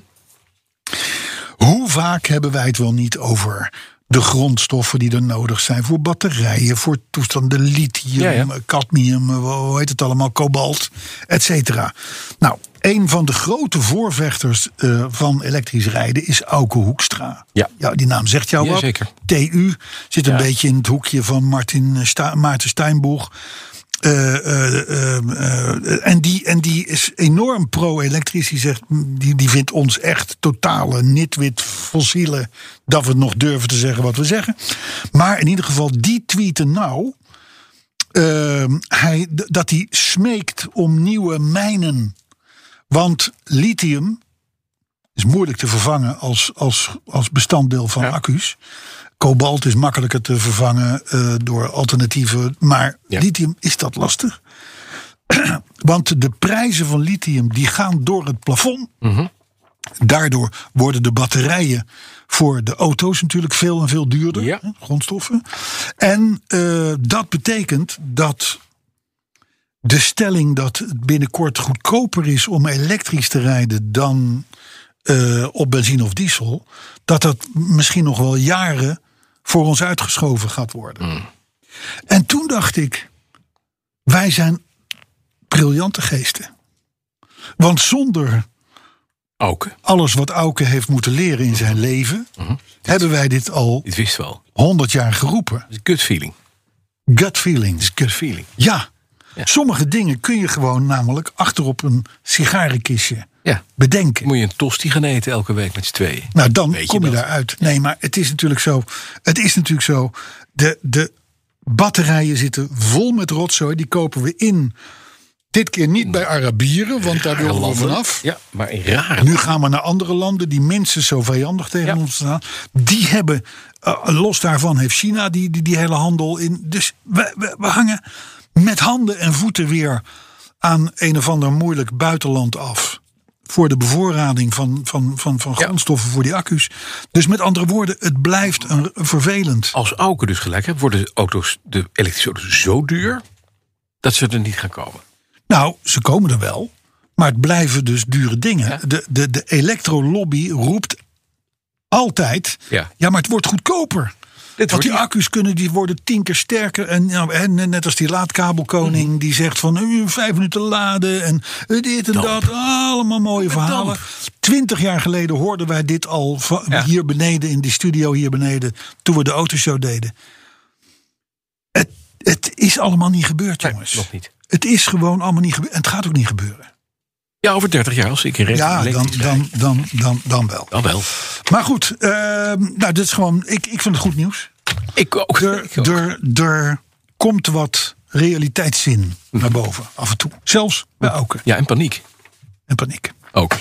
S3: Hoe vaak hebben wij het wel niet over de grondstoffen die er nodig zijn voor batterijen, voor toestanden lithium,
S2: Ja, ja.
S3: eh, cadmium, eh, hoe heet het allemaal, kobalt, et cetera. Nou, een van de grote voorvechters eh, van elektrisch rijden is Auke Hoekstra.
S2: Ja.
S3: die naam zegt jou
S2: Ja,
S3: wat.
S2: zeker.
S3: TU zit een
S2: Ja.
S3: beetje in het hoekje van Martin, eh, Sta- Maarten Steinboeg. Eh, eh, eh, eh, en, die, en die is enorm pro-elektrisch. Die, zegt, mm, die, die vindt ons echt totale nitwit fossielen. Dat we nog durven te zeggen wat we zeggen. Maar in ieder geval, die tweeten nou. ehm, hij, d- dat hij smeekt om nieuwe mijnen. Want lithium is moeilijk te vervangen als, als, als bestanddeel van accu's. Kobalt is makkelijker te vervangen eh, door alternatieven. Maar
S2: Ja.
S3: lithium is dat lastig. Want de prijzen van lithium die gaan door het plafond.
S2: Mhm.
S3: Daardoor worden de batterijen voor de auto's natuurlijk veel en veel duurder.
S2: Ja.
S3: hè, Grondstoffen. En eh, dat betekent dat de stelling dat het binnenkort goedkoper is om elektrisch te rijden dan eh, op benzine of diesel, dat dat misschien nog wel jaren voor ons uitgeschoven gaat worden. En toen dacht ik, wij zijn briljante geesten. Want zonder
S2: Ook. hè?
S3: alles wat Auke heeft moeten leren in zijn leven, hebben wij dit al
S2: Dit wist wel.
S3: 100 jaar geroepen.
S2: Het is Good feeling.
S3: Gut feelings.
S2: Good feeling.
S3: Ja. Sommige dingen kun je gewoon namelijk achterop een sigarenkistje
S2: Ja.
S3: bedenken.
S2: Moet je een tosti gaan eten elke week met z'n tweeën?
S3: Nou, dan
S2: je
S3: kom je
S2: dat?
S3: daaruit. Nee, maar het is natuurlijk zo. Het is natuurlijk zo. De, de batterijen zitten vol met rotzooi. Die kopen we in. Dit keer niet bij Arabieren, want daar wilden we
S2: Landen.
S3: vanaf.
S2: Mm. Ja, maar in rare.
S3: Nu gaan we naar andere landen die minstens zo vijandig tegen
S2: Ja.
S3: ons staan. Die hebben, eh, los daarvan heeft China die, die, die hele handel in. Dus we, we, we hangen met handen en voeten weer aan een of ander moeilijk buitenland af. Voor de bevoorrading van, van, van, van grondstoffen voor die accu's. Dus met andere woorden, het blijft een, een vervelend.
S2: Als Auken dus gelijk hebt, worden de, auto's, de elektrische auto's zo duur dat ze er niet gaan komen.
S3: Nou, ze komen er wel. Maar het blijven dus dure dingen. De, de, de elektrolobby roept altijd...
S2: Ja.
S3: ja, maar het wordt goedkoper.
S2: Dit
S3: Want
S2: wordt
S3: die accu's kunnen, die worden tien keer sterker. En, nou, en net als die laadkabelkoning
S2: Mm.
S3: die zegt van eh, vijf minuten laden en eh, dit en dat. Allemaal mooie verhalen. Twintig jaar geleden hoorden wij dit al va-
S2: Ja.
S3: hier beneden in die studio hier beneden. Toen we de autoshow deden. Het, het is allemaal niet gebeurd
S2: Nee,
S3: jongens.
S2: nog niet.
S3: Het is gewoon allemaal niet gebeurd. En het gaat ook niet gebeuren.
S2: Ja, over 30 jaar als ik in recht
S3: Ja, dan, dan, dan, dan, dan wel.
S2: dan wel.
S3: Maar goed, eh, nou, dit is gewoon, ik, ik vind het goed nieuws.
S2: Ik ook.
S3: Er,
S2: Ik ook.
S3: er, er komt wat realiteitszin naar boven, af en toe. Zelfs bij Auken
S2: Ja, en paniek.
S3: en paniek.
S2: Ook.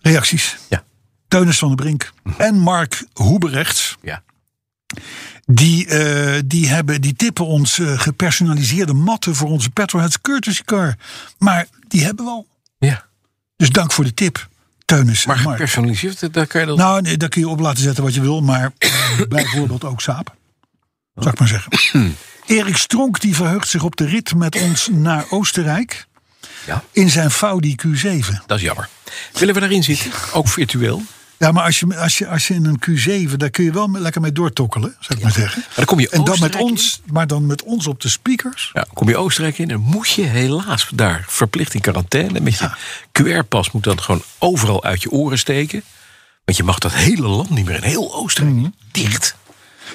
S3: Reacties.
S2: Ja.
S3: Teunis van der Brink en Mark Hoeberechts.
S2: Ja.
S3: Die, eh, die, hebben, die tippen ons eh, gepersonaliseerde matten voor onze Petrolheads courtesy car. Maar die hebben we al.
S2: ja.
S3: Dus dank voor de tip, Teunis
S2: Maar
S3: en Mark.
S2: gepersonaliseerd, eh, daar kan je dat...
S3: Nou, nee, daar kun je op laten zetten wat je wil, maar bijvoorbeeld ook saap. Zal ik maar zeggen. Erik Stronk die verheugt zich op de rit met ons naar Oostenrijk.
S2: Ja.
S3: In zijn Audi Q7.
S2: Dat is jammer. Willen we daarin zitten? Ook virtueel. Maar
S3: Ja, maar als je, als je, als je in een Q7, daar kun je wel me- lekker mee doortokkelen, zou ik maar zeggen.
S2: dan kom je
S3: En dan met
S2: Oostenrijk
S3: ons, maar dan met ons op de speakers.
S2: Ja, kom je Oostenrijk in, dan moet je helaas daar verplicht in quarantaine. Met je QR-pas moet dan gewoon overal uit je oren steken. Want je mag dat hele land niet meer in. Heel Oostenrijk dicht.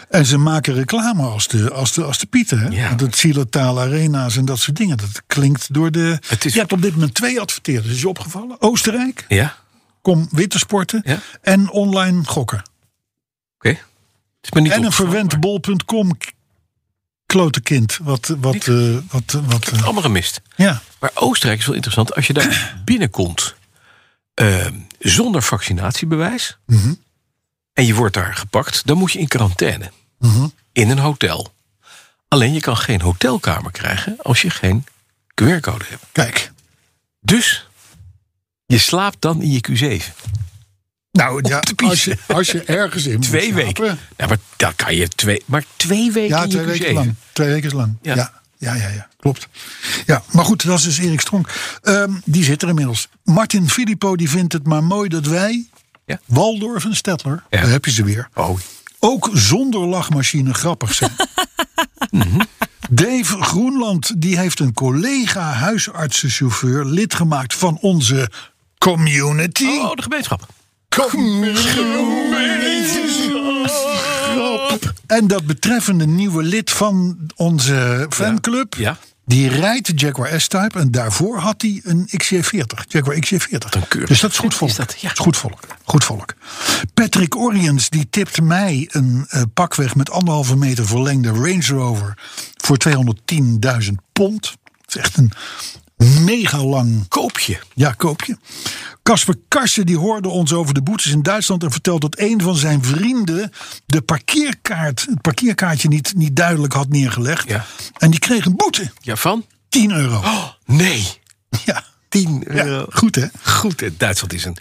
S3: En ze maken reclame als de, als de, als de Pieten. Hè?
S2: Ja.
S3: Want het Silotaal Arena's en dat soort dingen. Dat klinkt door de.
S2: Het is-
S3: Je hebt op dit moment twee adverteerders. Is je opgevallen? Oostenrijk,
S2: Ja, oké.
S3: kom wintersporten
S2: Ja.
S3: en online gokken.
S2: Het is me niet
S3: En een
S2: opgevallen,
S3: verwend
S2: maar
S3: bol.com k- klote kind. Wat, wat, eh, wat, eh, wat,
S2: Ik heb het
S3: eh,
S2: allemaal gemist.
S3: ja.
S2: Maar Oostenrijk is wel interessant. Als je daar binnenkomt eh, zonder vaccinatiebewijs...
S3: Mhm.
S2: en je wordt daar gepakt, dan moet je in quarantaine.
S3: Mhm.
S2: In een hotel. Alleen je kan geen hotelkamer krijgen als je geen QR-code hebt.
S3: Kijk.
S2: Dus je slaapt dan in je Q7.
S3: Nou, ja,
S2: de
S3: als, je, als je ergens in moet
S2: Twee
S3: slapen,
S2: weken. Ja, maar dan kan je twee, maar twee weken
S3: Ja,
S2: in
S3: twee
S2: je
S3: weken
S2: Q7.
S3: lang. Twee weken is lang.
S2: Ja.
S3: Ja. Ja. Ja, ja, klopt. Ja, maar goed, dat is dus Erik Stronk. Ehm, die zit er inmiddels. Martin Filippo die vindt het maar mooi dat wij,
S2: Ja.
S3: Waldorf en Stedtler,
S2: Ja.
S3: daar heb je ze weer,
S2: Oh,
S3: ook zonder lachmachine grappig zijn. Mhm. Dave Groenland die heeft een collega huisartsenchauffeur lid gemaakt van onze community.
S2: oh, de gemeenschap.
S3: En dat betreffende nieuwe lid van onze fanclub.
S2: Ja.
S3: Die rijdt de Jaguar S-Type en daarvoor had hij een XJ40. Jaguar
S2: een
S3: XJ40.
S2: keurig
S3: Dus dat is goed
S2: is
S3: volk.
S2: dat, ja.
S3: is goed volk. Goed volk. Patrick Oriens die tipt mij een eh, pakweg met anderhalve meter verlengde Range Rover voor 210.000 pond. Dat is echt een mega lang
S2: Koop je.
S3: ja, koop je. Casper Karsen die hoorde ons over de boetes in Duitsland en vertelt dat een van zijn vrienden de parkeerkaart, het parkeerkaartje niet, niet duidelijk had neergelegd.
S2: Ja.
S3: En die kreeg een boete.
S2: Ja, van?
S3: 10 euro.
S2: Oh, nee.
S3: Ja.
S2: 10
S3: Ja,
S2: euro.
S3: goed hè?
S2: Goed, eh, Duitsland is een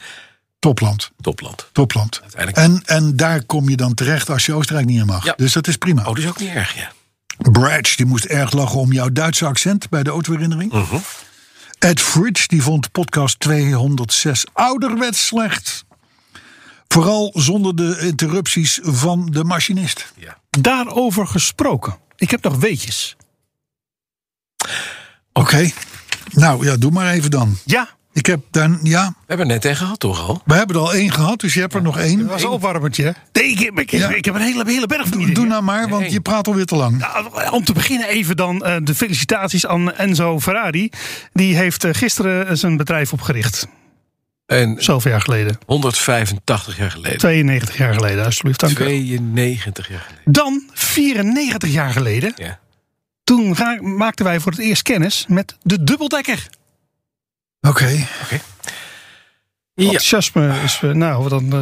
S3: Topland.
S2: topland. Oh,
S3: Topland.
S2: Uiteindelijk.
S3: En, en daar kom je dan terecht als je Oostenrijk niet in mag.
S2: Ja.
S3: Dus dat is prima.
S2: Oh, dat is ook niet erg, ja.
S3: Bratch, die moest erg lachen om jouw Duitse accent bij de autoherinnering.
S2: Mhm.
S3: Ed Fridge, die vond podcast 206 ouderwets slecht. Vooral zonder de interrupties van de machinist.
S7: Daarover gesproken. Ik heb nog weetjes.
S3: Oké. Nou ja, doe maar even dan.
S7: Ja,
S3: Ik heb daar, ja,
S2: We hebben er net een gehad, toch al?
S3: we hebben er al één gehad, dus je hebt er nog één.
S7: dat was een opwarmertje. hè? Nee, ik, heb- ik, heb-
S3: Ja.
S7: ik heb een hele, hele berg van
S3: Doe,
S7: ideeën.
S3: doe nou maar, want je praat alweer te lang.
S7: Nou, Om te beginnen even dan eh, de felicitaties aan Enzo Ferrari. Die heeft eh, gisteren eh, zijn bedrijf opgericht.
S2: En
S7: Zoveel jaar geleden.
S2: 185 jaar geleden.
S7: 92 jaar geleden, alsjeblieft. Dank u.
S2: 92 jaar geleden.
S7: Dan, 94 jaar geleden,
S2: Ja.
S7: toen ra- maakten wij voor het eerst kennis met de dubbeldekker.
S3: Oké.
S2: Ja.
S7: Enthousiasme is, eh, nou, dan, eh,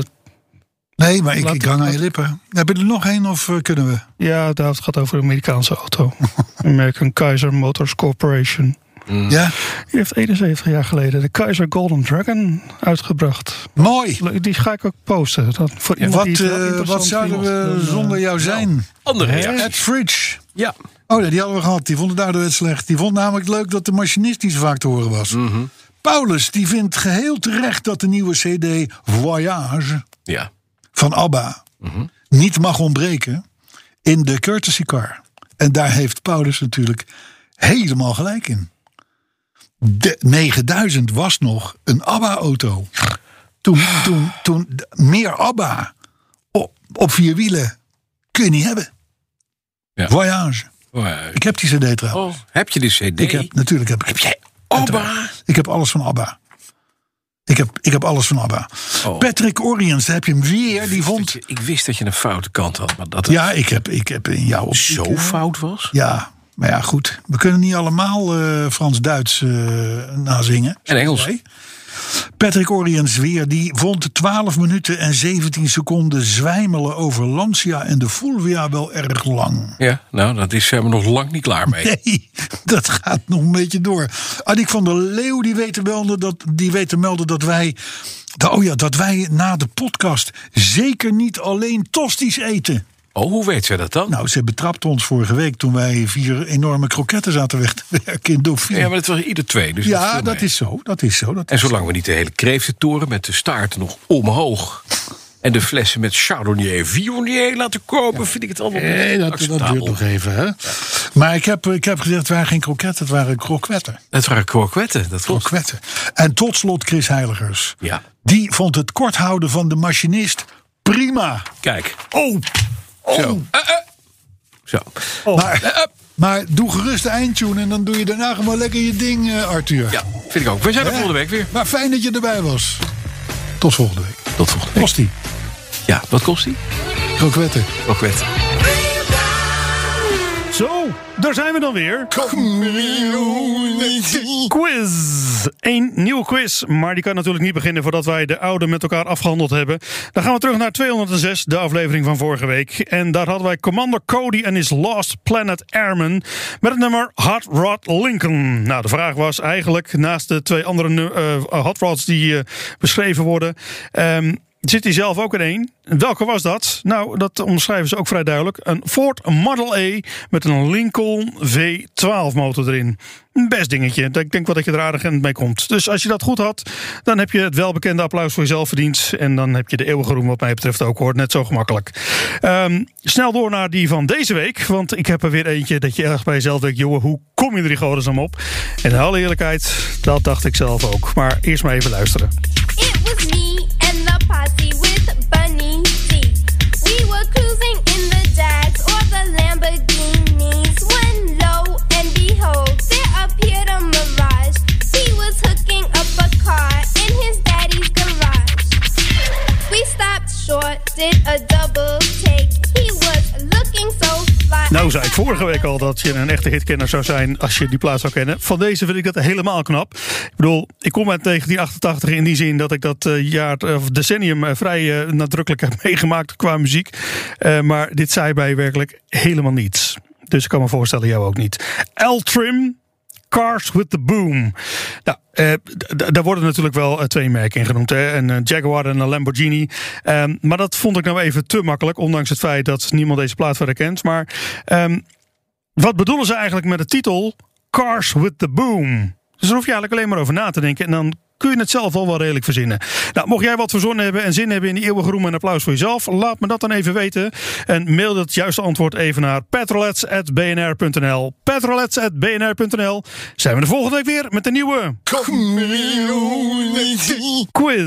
S3: Nee, maar ik,
S7: Laat-
S3: ik hang aan je lippen. Heb je er nog één of eh, kunnen we?
S7: ja, daar- het gaat over de Amerikaanse auto. American Kaiser Motors Corporation.
S2: Mm.
S3: Ja?
S7: Die heeft 71 jaar geleden de Kaiser Golden Dragon uitgebracht.
S3: Mooi.
S7: Leuk, Die ga ik ook posten. Dat, voor iemand
S3: Wat,
S7: die het wel
S3: eh,
S7: interessant
S3: wat zouden
S7: vindt,
S3: we
S7: dan, eh,
S3: zonder jou zijn?
S2: Andere
S3: Ed
S2: reacties.
S3: Fridge.
S2: Ja.
S3: Oh, nee, die hadden we gehad. Die vond het daardoor het slecht. Die vond namelijk leuk dat de machinist niet zo vaak te horen was. Paulus, die vindt geheel terecht dat de nieuwe CD Voyage
S2: Ja.
S3: van ABBA niet mag ontbreken in de courtesy car. En daar heeft Paulus natuurlijk helemaal gelijk in. De 9000 was nog een ABBA-auto. Toen, toen, toen d- meer ABBA op, op vier wielen kun je niet hebben.
S2: Ja.
S3: Voyage.
S2: Oh,
S3: Ik heb die CD trouwens.
S2: Oh, heb je de CD?
S3: Ik heb, natuurlijk heb ik.
S2: Heb jij Abba?
S3: Ik heb alles van ABBA. Ik heb, ik heb alles van ABBA.
S2: Oh.
S3: Patrick Oriens, daar heb je hem weer. Die
S2: Dat
S3: vond...
S2: je- Ik wist dat je een foute kant had, maar dat het
S3: Ja, ik heb, ik heb in jouw optiek,
S2: zo
S3: eh,
S2: fout was.
S3: Ja, maar ja, goed. We kunnen niet allemaal eh, Frans-Duits eh nazingen.
S2: En Engels.
S3: Nee. Patrick Oriens weer, die vond 12 minuten en 17 seconden zwijmelen over Lancia en de Fulvia wel erg lang.
S2: Ja, nou, dat is, zijn we nog lang niet klaar mee.
S3: Nee, dat gaat nog een beetje door. Adik van der Leeuw die weet te melden dat, die weet te melden dat wij. dat- Oh ja, dat wij na de podcast zeker niet alleen tosti's eten.
S2: Oh, hoe weet zij dat dan?
S3: Nou, ze betrapte ons vorige week toen wij vier enorme kroketten zaten weg te werken in Dauphine.
S2: ja, maar het was ieder twee. Dus dat
S3: ja,
S2: viel
S3: dat
S2: mee.
S3: is zo. Oh, Dat is zo. Dat
S2: En zolang we niet de hele kreeftentoren met de staart nog omhoog... en de flessen met Chardonnay en Viognier laten kopen... vind ik het allemaal
S3: Nee,
S2: niet
S3: dat, dat duurt
S2: acceptabel.
S3: nog even. Hè? Maar ik heb, ik heb gezegd, het waren geen kroketten, het waren krokwetten.
S2: Het waren kroketten, dat klopt.
S3: krokwetten. En tot slot Chris Heiligers.
S2: Ja.
S3: Die vond het kort houden van de machinist prima.
S2: Kijk,
S3: Oh!
S2: zo. Eh, eh. Zo. Eh,
S3: Maar, maar doe gerust de eindtune en dan doe je daarna gewoon lekker je ding, eh, Arthur.
S2: Ja, vind ik ook. We zijn er volgende week weer.
S3: Maar fijn dat je erbij was. Tot volgende week.
S2: Tot volgende week.
S3: Kost die.
S2: Ja, wat kost die?
S3: Krokwetten.
S2: Kroketten.
S7: Zo, daar zijn we dan weer. Quiz. Eén nieuwe quiz, maar die kan natuurlijk niet beginnen voordat wij de oude met elkaar afgehandeld hebben. Dan gaan we terug naar 206, de aflevering van vorige week. En daar hadden wij Commander Cody en his Lost Planet Airman met het nummer Hot Rod Lincoln. Nou, de vraag was eigenlijk, naast de twee andere nu- eh, Hot Rods die eh, beschreven worden... ehm, Zit hij zelf ook in één? Welke was dat? Nou, dat omschrijven ze ook vrij duidelijk. Een Ford Model E met een Lincoln V12 motor erin. Een Best dingetje. Ik denk wel dat je er aardig mee komt. Dus als je dat goed had, dan heb je het welbekende applaus voor jezelf verdiend. En dan heb je de eeuwige roem wat mij betreft ook hoor. Net zo gemakkelijk. Ehm, snel door naar die van deze week. Want ik heb er weer eentje dat je erg bij jezelf denkt... jongen, hoe kom je er in godsnaam op? En in alle eerlijkheid, dat dacht ik zelf ook. Maar eerst maar even luisteren.
S8: It was me and the posse with Bunny C. We were cruising in the Jags or the Lamborghinis when lo and behold, there appeared a mirage. He was hooking up a car in his daddy's garage. We stopped short, did a double take. He was looking so fly.
S7: Nou zei ik vorige week al dat je een echte hitkenner zou zijn als je die plaat zou kennen. Van deze vind ik dat helemaal knap. Ik bedoel, ik kom uit 1988 in die zin dat ik dat eh, jaar eh, of decennium eh, vrij eh, nadrukkelijk heb meegemaakt qua muziek. Eh, maar dit zei mij werkelijk helemaal niets. Dus ik kan me voorstellen, jou ook niet. L-Trim, Cars with the Boom. Nou, eh, d- d- daar worden natuurlijk wel eh, twee merken in genoemd. Hè? Een eh, Jaguar en een Lamborghini. Ehm, maar dat vond ik nou even te makkelijk. Ondanks het feit dat niemand deze plaat verder kent. Maar ehm, wat bedoelen ze eigenlijk met de titel Cars with the Boom? Dus daar hoef je eigenlijk alleen maar over na te denken. En dan kun je het zelf al wel redelijk verzinnen. Nou, mocht jij wat verzonnen hebben en zin hebben in die eeuwige roem en applaus voor jezelf, laat me dat dan even weten. En mail het juiste antwoord even naar petrolets.bnr.nl. Petrolets.bnr.nl. Zijn we de volgende week weer met een nieuwe quiz.